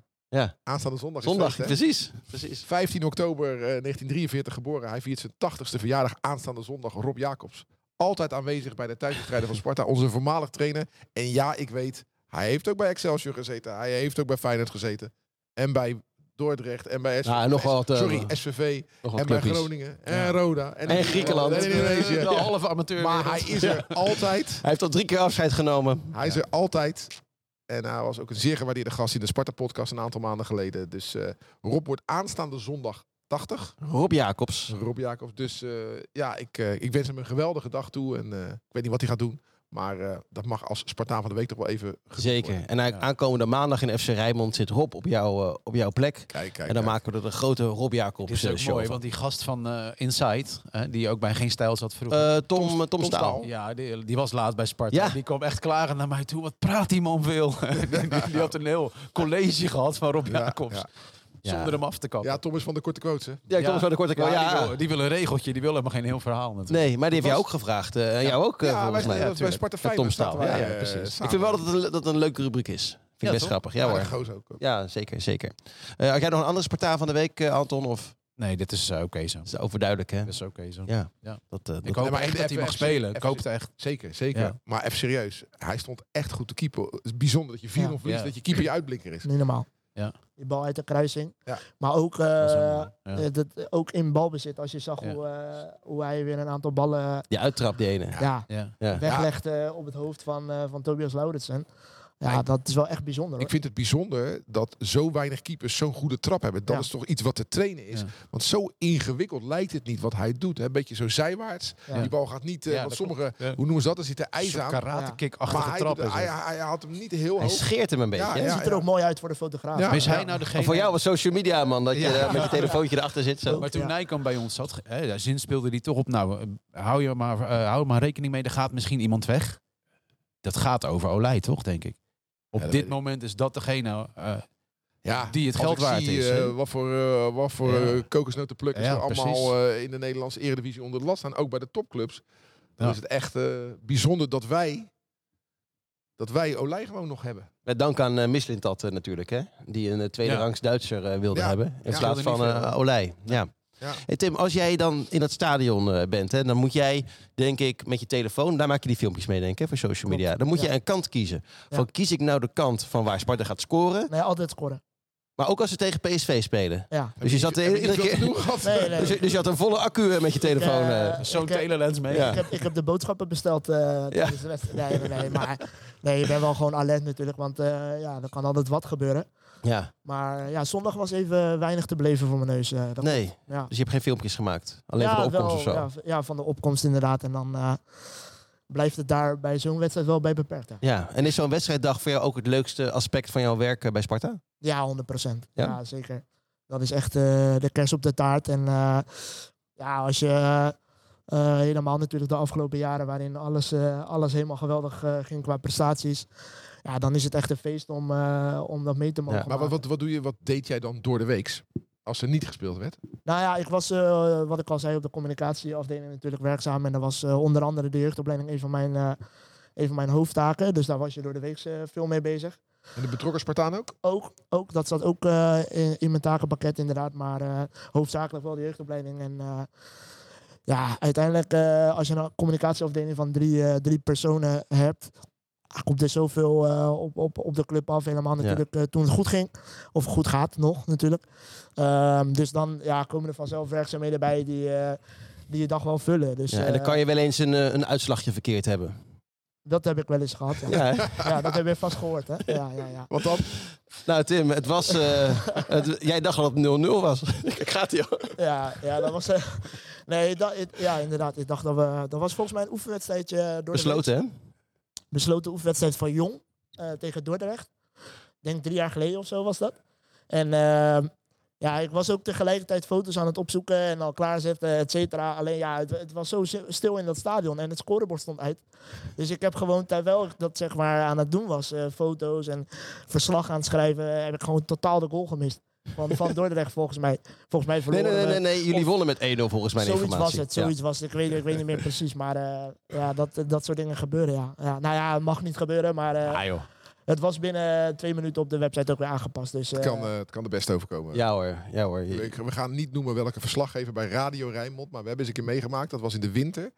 Speaker 6: Aanstaande zondag. is
Speaker 3: Zondag,
Speaker 6: feest, hè?
Speaker 3: precies. precies.
Speaker 6: 15 oktober eh, 1943 geboren. Hij viert zijn 80ste verjaardag aanstaande zondag. Rob Jacobs. Altijd aanwezig bij de thuiswedstrijden van Sparta. Onze voormalig trainer. En ja, ik weet, hij heeft ook bij Excelsior gezeten. Hij heeft ook bij Feyenoord gezeten. En bij Dordrecht. En bij SVV.
Speaker 3: Ja, en nog wat, eh,
Speaker 6: Sorry, SVV.
Speaker 3: Nog wat
Speaker 6: En bij
Speaker 3: clubjes.
Speaker 6: Groningen. En Roda. En,
Speaker 3: En Griekenland.
Speaker 6: En Indonesië.
Speaker 5: De halve amateur.
Speaker 6: Maar hij is er altijd.
Speaker 3: Hij heeft al drie keer afscheid genomen.
Speaker 6: Hij is er altijd. En hij was ook een zeer gewaardeerde gast in de Sparta-podcast een aantal maanden geleden. Dus eh, Rob wordt aanstaande zondag 80.
Speaker 3: Rob Jacobs.
Speaker 6: Rob Jacobs. Dus eh, ja, ik, eh, ik wens hem een geweldige dag toe. En eh, ik weet niet wat hij gaat doen. Maar eh, dat mag als Spartaan van de Week toch wel even genoemd
Speaker 3: Zeker.
Speaker 6: worden.
Speaker 3: En hij-
Speaker 5: Ja.
Speaker 3: aankomende maandag in FC Rijnmond zit Rob op, jou, eh, op jouw plek.
Speaker 6: Kijk, kijk.
Speaker 3: en dan
Speaker 6: kijk.
Speaker 3: maken we er een grote Rob Jacobs
Speaker 5: Dit is
Speaker 3: eh,
Speaker 5: ook
Speaker 3: show
Speaker 5: mooi,
Speaker 3: van.
Speaker 5: want die gast van eh, Inside, eh, die ook bij Geen Stijl zat vroeger.
Speaker 3: Eh, Tom, Tom, Tom
Speaker 6: Staal.
Speaker 3: Staal.
Speaker 5: ja, die, die was laat bij Sparta.
Speaker 3: Ja.
Speaker 5: Die kwam echt klagen naar mij toe. Wat praat die man veel? die, die- die had een heel college gehad van Rob Jacobs.
Speaker 6: ja.
Speaker 5: Zonder
Speaker 3: Ja.
Speaker 5: hem af te kappen.
Speaker 6: Ja, Thomas van de Korte Quotes, hè?
Speaker 3: Ja, ik kom
Speaker 5: Ja.
Speaker 3: zo de korte kwam.
Speaker 5: Die,
Speaker 3: Ja.
Speaker 5: wil, die wil een regeltje, die wil helemaal geen heel verhaal natuurlijk.
Speaker 3: Nee, maar die heeft
Speaker 6: Was-
Speaker 3: jou ook gevraagd. eh, en jou ook, eh,
Speaker 6: ja, wij
Speaker 3: volgens mij.
Speaker 6: zijn dat bij
Speaker 5: tuurlijk.
Speaker 6: Sparta
Speaker 3: Ja, Tom
Speaker 6: Feyenoord.
Speaker 3: Staal.
Speaker 6: zaten
Speaker 3: Ja,
Speaker 6: wij,
Speaker 3: ja,
Speaker 6: eh,
Speaker 3: precies. Ik
Speaker 6: samen.
Speaker 3: vind wel dat het een, dat het een leuke rubriek is. Vind ik
Speaker 5: Ja,
Speaker 3: best
Speaker 5: toch?
Speaker 3: grappig.
Speaker 6: Ja,
Speaker 3: Ja
Speaker 6: dat
Speaker 3: hoor.
Speaker 6: goos ook.
Speaker 3: Ja, zeker, zeker. Eh, had jij nog een andere Spartaan van de week, eh, Anton? Of
Speaker 5: Nee, dit is eh, oké zo.
Speaker 3: dat is overduidelijk, hè?
Speaker 5: Dat is oké zo.
Speaker 3: Ja.
Speaker 5: Ja.
Speaker 3: Dat, eh,
Speaker 5: Dus Ik
Speaker 3: dat-
Speaker 5: hoop
Speaker 6: maar
Speaker 5: echt
Speaker 6: even-
Speaker 5: dat hij mag
Speaker 6: even-
Speaker 5: spelen. Ik
Speaker 6: even-
Speaker 5: hoop het echt.
Speaker 6: Zeker, zeker.
Speaker 5: Ja.
Speaker 6: Maar even serieus. Hij stond echt goed te keeper. Het is bijzonder dat je 4-0 verliest,
Speaker 5: Ja.
Speaker 6: dat je keeper je uitblinker is.
Speaker 4: niet normaal.
Speaker 5: Ja.
Speaker 4: Die bal uit de kruising.
Speaker 6: Ja.
Speaker 4: Maar ook, eh,
Speaker 5: Dat is wel mooi, ja.
Speaker 4: eh, dat, ook in balbezit. Als je zag
Speaker 5: Ja.
Speaker 4: hoe, eh, hoe hij weer een aantal ballen
Speaker 3: Die uittrap, die ene.
Speaker 4: ja.
Speaker 5: Ja.
Speaker 4: weglegde op het hoofd van, eh, van Tobias Lauritsen. Ja,
Speaker 6: Hij-
Speaker 4: dat is wel echt bijzonder.
Speaker 6: Ik
Speaker 4: hoor.
Speaker 6: vind het bijzonder dat zo weinig keepers zo'n goede trap hebben. Dat
Speaker 4: Ja.
Speaker 6: is toch iets wat te trainen is.
Speaker 5: Ja.
Speaker 6: Want zo ingewikkeld lijkt het niet wat hij doet. Hè? Een beetje zo zijwaarts.
Speaker 4: Ja.
Speaker 6: Die bal gaat niet... eh
Speaker 5: Ja,
Speaker 6: want
Speaker 5: dat
Speaker 6: sommige,
Speaker 5: klopt. Ja.
Speaker 6: hoe noemen ze dat? Er zit er
Speaker 5: Een
Speaker 6: ijs
Speaker 5: soort
Speaker 6: aan.
Speaker 5: karate-kick-achtige
Speaker 6: Maar hij,
Speaker 5: trap. is
Speaker 6: hij,
Speaker 5: het.
Speaker 6: hij haalt hem niet heel
Speaker 3: Hij
Speaker 6: hoog.
Speaker 3: scheert hem een beetje.
Speaker 6: Ja,
Speaker 3: hè?
Speaker 4: Het ziet er ook mooi uit voor de fotograaf.
Speaker 6: Ja.
Speaker 5: Maar is
Speaker 6: Ja.
Speaker 5: hij nou degene...
Speaker 3: Voor jou als social media man, dat je
Speaker 5: Ja.
Speaker 3: daar met je telefoontje erachter zit. Zo.
Speaker 5: Maar toen
Speaker 4: Ja.
Speaker 5: Nijkamp bij ons zat, hè, daar zin speelde hij toch op. Nou, eh, hou, je maar, eh, hou er maar rekening mee, er gaat misschien iemand weg. Dat gaat over Olij, toch, denk ik? Op
Speaker 6: Ja, dat
Speaker 5: dit
Speaker 6: weet
Speaker 5: moment is dat degene... eh,
Speaker 6: Ja,
Speaker 5: die het
Speaker 6: als
Speaker 5: geld
Speaker 6: ik
Speaker 5: waard
Speaker 6: zie,
Speaker 5: is,
Speaker 6: eh,
Speaker 5: hè?
Speaker 6: wat voor, eh, wat voor
Speaker 5: Ja.
Speaker 6: eh, kokosnotenplukkers
Speaker 5: Ja,
Speaker 6: er allemaal
Speaker 5: precies.
Speaker 6: eh, in de Nederlandse eredivisie onder de last staan. Ook bij de topclubs. Dan
Speaker 5: Ja.
Speaker 6: is het echt eh, bijzonder dat wij... Dat wij Olij gewoon nog hebben.
Speaker 3: Met dank aan eh Mislintat eh, natuurlijk, hè? die een eh, tweede
Speaker 5: Ja.
Speaker 3: rangs Duitser eh, wilde
Speaker 6: Ja.
Speaker 3: hebben. In
Speaker 6: Ja.
Speaker 3: plaats
Speaker 5: Wilde
Speaker 3: van
Speaker 5: niet
Speaker 3: eh,
Speaker 5: veel.
Speaker 3: Olij. Ja.
Speaker 6: Ja.
Speaker 3: Hey Tim, als jij dan in dat stadion eh, bent, hè, dan moet jij, denk ik, met je telefoon, daar maak je die filmpjes mee, denk ik, hè, voor social media. Dan moet
Speaker 4: Ja.
Speaker 3: je een kant kiezen.
Speaker 4: Ja.
Speaker 3: Van kies ik nou de kant van waar Sparta gaat scoren,
Speaker 4: Nee, altijd scoren.
Speaker 3: maar ook als ze tegen PSV spelen.
Speaker 4: Ja.
Speaker 3: Dus je zat de hele-
Speaker 6: Heb je niet
Speaker 3: iedere
Speaker 6: veel te
Speaker 3: keer.
Speaker 6: doen gehad?
Speaker 4: Nee, nee.
Speaker 3: Dus je, dus je had een volle accu eh, met je telefoon.
Speaker 4: eh,
Speaker 3: eh.
Speaker 5: Zo'n
Speaker 4: Ik heb-
Speaker 5: telelens mee.
Speaker 3: Ja.
Speaker 4: Ik, heb, ik heb de boodschappen besteld eh tijdens de wedstrijd. Nee, nee, nee, maar nee, je bent wel gewoon alert natuurlijk, want eh, ja, er kan altijd wat gebeuren.
Speaker 3: Ja,
Speaker 4: Maar ja, zondag was even weinig te beleven voor mijn neus. eh, dat
Speaker 3: nee.
Speaker 4: Ja.
Speaker 3: Dus je hebt geen filmpjes gemaakt. Alleen
Speaker 4: ja,
Speaker 3: voor de opkomst
Speaker 4: wel,
Speaker 3: of zo.
Speaker 4: Ja, v- ja, van de opkomst inderdaad. En dan eh, blijft het daar bij zo'n wedstrijd wel bij beperkt. hè.
Speaker 3: Ja, en is zo'n wedstrijddag voor jou ook het leukste aspect van jouw werk eh, bij Sparta?
Speaker 4: Ja, 100 procent.
Speaker 3: Ja?
Speaker 4: Ja? zeker. Dat is echt eh, de kers op de taart. En eh, ja, als je eh, eh, helemaal natuurlijk de afgelopen jaren waarin alles, eh, alles helemaal geweldig eh, ging qua prestaties. Ja, dan is het echt een feest om, eh, om dat mee te mogen.
Speaker 3: Ja.
Speaker 6: Maar wat,
Speaker 4: maken.
Speaker 6: wat, wat, doe je, wat deed jij dan door de weeks? Als er niet gespeeld werd?
Speaker 4: Nou ja, ik was, eh, wat ik al zei, op de communicatieafdeling natuurlijk werkzaam. En dat was eh, onder andere de jeugdopleiding een van mijn, eh, een van mijn hoofdtaken. Dus daar was je door de week eh, veel mee bezig.
Speaker 6: En de betrokken Spartaan ook?
Speaker 4: Ook, ook dat zat ook eh, in, in mijn takenpakket inderdaad. Maar eh, hoofdzakelijk wel de jeugdopleiding. En eh, ja, uiteindelijk eh, als je een communicatieafdeling van drie, eh, drie personen hebt... ah, Komt er zoveel eh, op, op, op de club af. Helemaal
Speaker 3: Ja.
Speaker 4: natuurlijk eh, toen het goed ging. Of goed gaat nog natuurlijk. Ehm, dus dan ja, komen er vanzelf werkzaamheden bij die, eh, die je dag wel vullen. Dus,
Speaker 3: Ja, en dan
Speaker 4: eh,
Speaker 3: kan je wel eens een, eh, een uitslagje verkeerd hebben.
Speaker 4: Dat heb ik wel eens gehad. Ja, ja.
Speaker 3: Ja, hè?
Speaker 4: dat heb je vast gehoord. Hè? Ja, ja, ja.
Speaker 6: Wat dan?
Speaker 3: Nou Tim, het was, eh, het- jij dacht al dat het 0-0 was. Kijk, Gaat hij al.
Speaker 4: Ja, ja, dat was. eh, nee, dat, ik- ja, inderdaad. Ik dacht dat we. Dat was volgens mij een oefenwedstrijdje. eh, Door de
Speaker 3: Besloten hè?
Speaker 4: week. besloten oefenwedstrijd van Jong eh, tegen Dordrecht. Ik denk drie jaar geleden of zo was dat. En eh, ja, ik was ook tegelijkertijd foto's aan het opzoeken en al klaarzetten, et cetera. Alleen ja, het, het was zo si- stil in dat stadion en het scorebord stond uit. Dus ik heb gewoon, terwijl ik dat zeg maar aan het doen was, eh, foto's en verslag aan het schrijven, eh, heb ik gewoon totaal de goal gemist. Van, van Dordrecht volgens mij. Volgens mij
Speaker 3: Nee,
Speaker 4: verloren
Speaker 3: nee, nee,
Speaker 4: we-
Speaker 3: nee, nee, jullie
Speaker 4: Of-
Speaker 3: wonnen met 1-0 volgens mijn
Speaker 4: zoiets
Speaker 3: informatie.
Speaker 4: was het,
Speaker 3: Ja.
Speaker 4: zoiets was het. Ik weet, ik weet niet meer precies, maar eh, ja, dat, dat soort dingen gebeuren, ja. ja. Nou ja, het mag niet gebeuren, maar eh,
Speaker 3: Ah, joh.
Speaker 4: het was binnen twee minuten op de website ook weer aangepast. Dus,
Speaker 6: Het
Speaker 4: eh,
Speaker 6: kan, eh, het kan de best overkomen.
Speaker 3: Ja hoor, ja hoor. Je-
Speaker 6: Ik- we gaan niet noemen welke verslaggever bij Radio Rijnmond. Maar we hebben eens een keer meegemaakt. Dat was in de winter.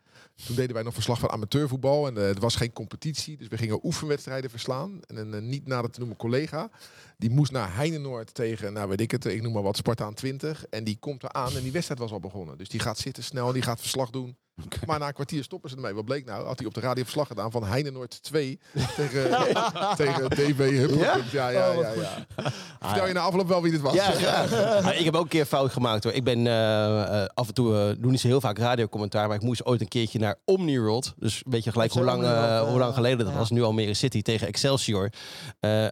Speaker 6: Toen deden wij nog verslag van amateurvoetbal. En eh, het was geen competitie. Dus we gingen oefenwedstrijden verslaan. En een eh, niet nader te noemen collega. Die moest naar Heinenoord tegen, nou weet ik het. Ik noem maar wat, Spartaan 20. En die komt eraan. En die wedstrijd was al begonnen. Dus die gaat zitten snel. En die gaat verslag doen. Maar na een kwartier stoppen ze ermee. Wat bleek nou? Had hij op de radio verslag gedaan van Heinenoord 2 tegen, tegen DB Huppel. Ja? Ja, ja,
Speaker 4: Oh, wat
Speaker 6: ja,
Speaker 4: goed.
Speaker 6: Vertel je na afloop wel wie dit was.
Speaker 3: Ja, graag. Maar ik heb ook een keer fout gemaakt hoor. Ik ben eh, eh, af en toe, eh doe niet zo heel vaak radiocommentaar, maar ik moest ooit een keertje naar Omniworld. Dus weet je gelijk
Speaker 4: Dat
Speaker 3: hoe
Speaker 4: is
Speaker 3: lang,
Speaker 4: Omniworld,
Speaker 3: eh,
Speaker 4: eh,
Speaker 3: hoe lang geleden dat
Speaker 4: ja.
Speaker 3: was. Nu Almere City tegen Excelsior. Eh,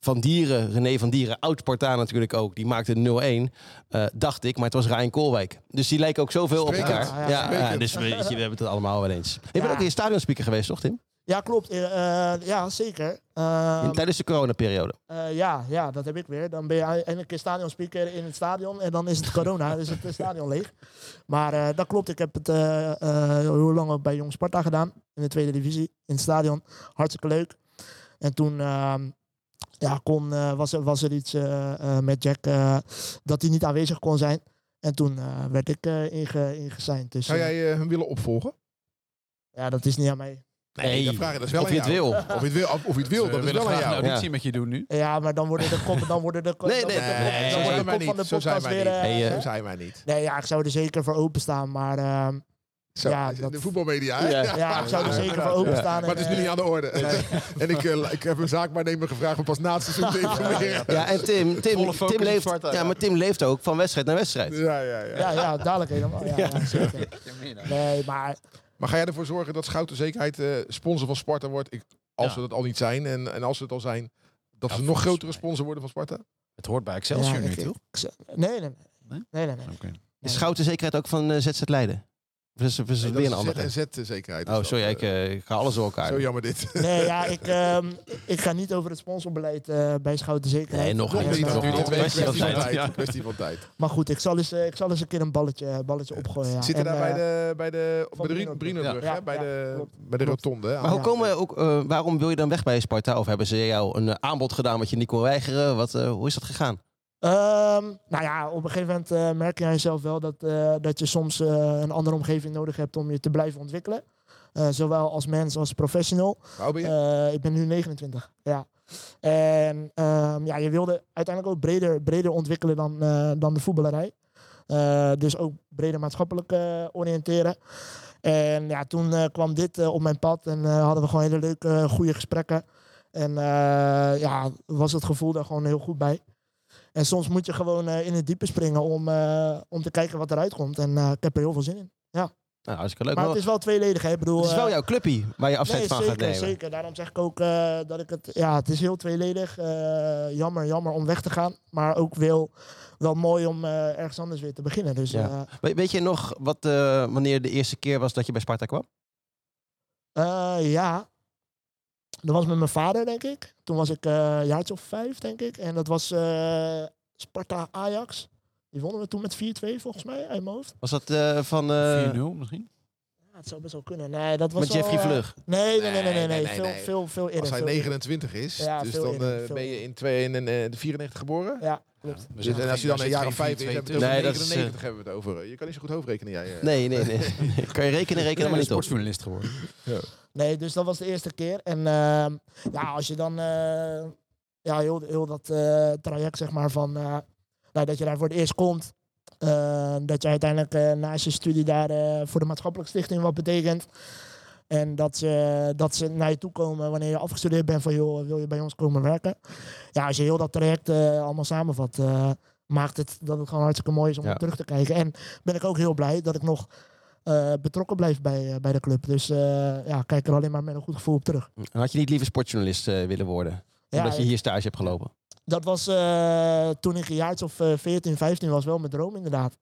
Speaker 3: van Dieren, René van Dieren, oud Spartaan natuurlijk ook. Die maakte 0-1, eh, dacht ik. Maar het was Ryan Koolwijk. Dus die lijken ook zoveel op
Speaker 6: Sprekend.
Speaker 3: elkaar.
Speaker 4: Ja,
Speaker 3: Ja,
Speaker 4: ja,
Speaker 3: ja,
Speaker 6: sprekend.
Speaker 3: dus we, je- we hebben het allemaal wel eens. Ik ben
Speaker 4: Ja.
Speaker 3: ook in je stadionspeaker geweest, toch Tim?
Speaker 4: Ja, klopt. Eh, eh, ja, zeker.
Speaker 3: In-
Speaker 4: Ehm,
Speaker 3: Tijdens de coronaperiode.
Speaker 4: eh, ja, ja, dat heb ik weer. Dan ben je eindelijk een stadionspeaker in het stadion en dan is het corona, dus het stadion leeg. Maar eh, dat klopt. Ik heb het eh, eh, heel lang ook bij Jong Sparta gedaan in de tweede divisie in het stadion. Hartstikke leuk. En toen ehm, ja, kon, eh, was, er, was er iets eh, eh, met Jack eh, dat hij niet aanwezig kon zijn. En toen eh, werd ik eh inge, ingesigned. Dus
Speaker 6: Zou
Speaker 4: eh,
Speaker 6: jij eh, hem willen opvolgen?
Speaker 4: ja, dat is niet aan mij.
Speaker 6: Nee, dat vraag je dat is wel
Speaker 5: of
Speaker 6: aan
Speaker 5: je het
Speaker 6: jou.
Speaker 5: wil.
Speaker 6: Of je het wil, of, of je het wil
Speaker 5: We
Speaker 6: dat is
Speaker 5: willen
Speaker 6: wel aan
Speaker 5: graag een
Speaker 6: jou.
Speaker 5: auditie
Speaker 3: Ja.
Speaker 5: met je doen nu.
Speaker 4: Ja, maar dan worden de kop, dan worden de kop,
Speaker 3: Nee,
Speaker 4: dan
Speaker 3: nee,
Speaker 4: wordt de
Speaker 3: nee,
Speaker 4: kop-
Speaker 3: nee,
Speaker 4: dan
Speaker 6: zo
Speaker 4: wordt
Speaker 6: zijn
Speaker 4: de
Speaker 6: wij
Speaker 4: kop van
Speaker 6: niet.
Speaker 4: de
Speaker 6: Zo zijn
Speaker 4: podcast
Speaker 6: wij
Speaker 4: weer.
Speaker 6: niet.
Speaker 4: eh,
Speaker 3: Hey, eh,
Speaker 6: Zo
Speaker 4: hè?
Speaker 6: zijn wij niet.
Speaker 4: nee, ja, ik zou er zeker voor openstaan, maar ehm,
Speaker 6: Zo,
Speaker 4: Ja,
Speaker 6: de
Speaker 4: dat-
Speaker 6: voetbalmedia. hè?
Speaker 3: Ja.
Speaker 4: ja, ik zou er zeker voor
Speaker 6: Ja.
Speaker 4: openstaan. eh,
Speaker 6: Maar het is nu niet aan de orde. en ik, eh, ik heb een zaakwaarnemer gevraagd om pas na het seizoen te informeren.
Speaker 3: Ja, en Tim, Tim,
Speaker 5: Volle focus
Speaker 3: Tim
Speaker 5: op
Speaker 3: leeft,
Speaker 5: Sparta,
Speaker 3: ja,
Speaker 5: ja.
Speaker 3: maar Tim leeft ook van wedstrijd naar wedstrijd.
Speaker 6: Ja, ja, ja.
Speaker 4: Ja, ja, dadelijk helemaal. Ja, ja, zeker. Nee, maar
Speaker 6: Maar ga jij ervoor zorgen dat Schouten zekerheid eh, sponsor van Sparta wordt? Ik, als
Speaker 5: Ja.
Speaker 6: we dat al niet zijn en, en als we het al zijn, dat
Speaker 5: Ja,
Speaker 6: ze een nog
Speaker 5: volgens
Speaker 6: grotere
Speaker 5: mij.
Speaker 6: sponsor worden van Sparta?
Speaker 5: Het hoort bij Excelsior
Speaker 4: Ja,
Speaker 5: nu,
Speaker 4: ik-
Speaker 5: toch?
Speaker 4: nee, nee, nee.
Speaker 5: Nee?
Speaker 4: Nee, nee, nee.
Speaker 3: Is Schouten zekerheid ook van eh, ZZ Leiden? Of is, of is het
Speaker 6: Nee,
Speaker 3: weer een
Speaker 6: dat is
Speaker 3: andere?
Speaker 6: Z- zekerheid.
Speaker 3: Oh, sorry, ik, eh, ik ga alles door elkaar.
Speaker 6: Zo jammer dit.
Speaker 4: Nee, ja, ik, ehm, ik ga niet over het sponsorbeleid eh, bij Schouten zekerheid.
Speaker 3: Nee, nog
Speaker 4: Maar,
Speaker 3: niet,
Speaker 4: eh,
Speaker 3: nog
Speaker 4: maar-
Speaker 3: niet.
Speaker 6: Kwestie
Speaker 3: Kwestie van
Speaker 6: van
Speaker 3: tijd.
Speaker 5: Ja.
Speaker 6: tijd. Kwestie van tijd.
Speaker 4: Maar goed, ik zal, eens, eh, ik zal eens een keer een balletje, balletje opgooien. Ja.
Speaker 6: Zitten
Speaker 4: En,
Speaker 6: daar bij
Speaker 4: eh,
Speaker 6: de bij de bij de Rien-
Speaker 4: Brienenbrug.
Speaker 6: Brienenbrug,
Speaker 4: Ja.
Speaker 6: hè? bij
Speaker 4: Ja,
Speaker 6: de
Speaker 4: klopt.
Speaker 6: bij de rotonde. hè? Ah,
Speaker 3: Maar hoe
Speaker 4: Ja.
Speaker 3: komen we ook, eh, waarom wil je dan weg bij Sparta? Of hebben ze jou een eh, aanbod gedaan wat je niet kon weigeren? Wat, eh, hoe is dat gegaan?
Speaker 4: Ehm, nou ja, op een gegeven moment eh, merk je aan jezelf wel dat, eh, dat je soms eh, een andere omgeving nodig hebt om je te blijven ontwikkelen. Eh, zowel als mens als professional.
Speaker 6: Hoe ben je?
Speaker 4: Eh, ik ben nu 29, ja. En ehm, ja, je wilde uiteindelijk ook breder, breder ontwikkelen dan, eh, dan de voetballerij. Eh, dus ook breder maatschappelijk eh, oriënteren. En ja, toen eh, kwam dit eh, op mijn pad en eh, hadden we gewoon hele leuke, eh, goede gesprekken. En eh, ja, was het gevoel daar gewoon heel goed bij. En soms moet je gewoon eh, in het diepe springen om, eh, om te kijken wat eruit komt. En eh, ik heb er heel veel zin in.
Speaker 3: Nou, hartstikke leuk.
Speaker 4: Maar
Speaker 3: Maar
Speaker 4: het is wel tweeledig. Hè? Ik bedoel,
Speaker 3: het is wel
Speaker 4: eh,
Speaker 3: jouw clubpie waar je afscheid
Speaker 4: nee,
Speaker 3: van
Speaker 4: zeker,
Speaker 3: gaat nemen.
Speaker 4: Zeker, daarom zeg ik ook eh, dat ik het... Ja, het is heel tweeledig. Eh, jammer, jammer om weg te gaan. Maar ook wel, wel mooi om eh, ergens anders weer te beginnen. Dus
Speaker 3: Ja.
Speaker 4: eh,
Speaker 3: We- weet je nog wat, eh, wanneer de eerste keer was dat je bij Sparta kwam?
Speaker 4: eh, ja, dat was met mijn vader, denk ik. Toen was ik eh, een jaartje of vijf, denk ik. En dat was eh, Sparta-Ajax. Die wonnen we toen met 4-2, volgens mij, uit mijn hoofd.
Speaker 3: Was dat eh, van... eh,
Speaker 5: 4-0 misschien?
Speaker 4: Ja, het zou best wel kunnen. Nee, dat was
Speaker 3: met Jeffrey
Speaker 4: al, eh,
Speaker 3: Vlug?
Speaker 4: nee, nee, nee,
Speaker 6: Nee,
Speaker 4: nee,
Speaker 6: nee,
Speaker 4: nee, nee.
Speaker 6: nee,
Speaker 4: Veel,
Speaker 6: nee.
Speaker 4: veel, veel eerder.
Speaker 6: Als hij
Speaker 4: veel eerder.
Speaker 6: 29 is,
Speaker 4: Ja,
Speaker 6: dus
Speaker 4: veel
Speaker 6: dan
Speaker 4: eerder,
Speaker 6: eh,
Speaker 4: veel
Speaker 6: ben je
Speaker 4: eerder.
Speaker 6: in, twee, in, in, eh, de 94 geboren.
Speaker 4: Ja, klopt.
Speaker 6: Dus, en als je dan een jaar of vijf is, hebben we het
Speaker 3: Nee,
Speaker 6: over
Speaker 3: dat is, eh,
Speaker 6: 99 hebben we het over. Je kan niet zo goed hoofdrekenen, jij. eh.
Speaker 3: Nee, nee, nee. kan je rekenen, rekenen maar niet op.
Speaker 5: sportjournalist geworden.
Speaker 4: Nee, dus dat was de eerste keer. En ehm, ja, als je dan eh, ja, heel, heel dat eh, traject, zeg maar, van eh, nou, dat je daar voor het eerst komt. eh, dat je uiteindelijk eh, naast je studie daar eh, voor de maatschappelijke stichting wat betekent. En dat ze, dat ze naar je toe komen wanneer je afgestudeerd bent van joh, wil je bij ons komen werken? Ja, als je heel dat traject eh, allemaal samenvat, eh, maakt het dat het gewoon hartstikke mooi is om
Speaker 3: Ja.
Speaker 4: op terug te kijken. En ben ik ook heel blij dat ik nog eh, betrokken blijf bij, eh, bij de club. Dus eh, ja, kijk er alleen maar met een goed gevoel op terug.
Speaker 3: En had je niet liever sportjournalist eh, willen worden?
Speaker 4: Ja,
Speaker 3: omdat je hier stage hebt gelopen.
Speaker 4: dat was eh, toen ik een jaartje of eh, 14, 15 was, wel mijn droom inderdaad.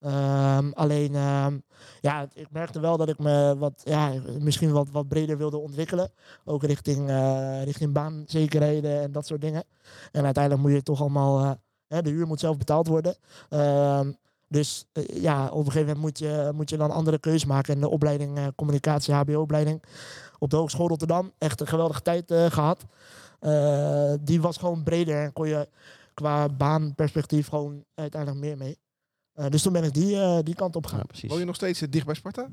Speaker 4: Ehm, alleen, ehm, ja, ik merkte wel dat ik me wat, ja, misschien wat, wat breder wilde ontwikkelen. Ook richting, eh, richting baanzekerheden en dat soort dingen. En uiteindelijk moet je toch allemaal, eh, hè, de huur moet zelf betaald worden. Ehm, dus eh, ja, op een gegeven moment moet je, moet je dan andere keus maken. En de opleiding eh, communicatie, HBO-opleiding op de Hogeschool Rotterdam. Echt een geweldige tijd eh, gehad. Eh, die was gewoon breder en kon je qua baanperspectief gewoon uiteindelijk meer mee. Eh, dus toen ben ik die, eh, die kant op
Speaker 3: Ja,
Speaker 4: gegaan.
Speaker 3: precies.
Speaker 6: Woon je nog steeds eh, dicht bij Sparta?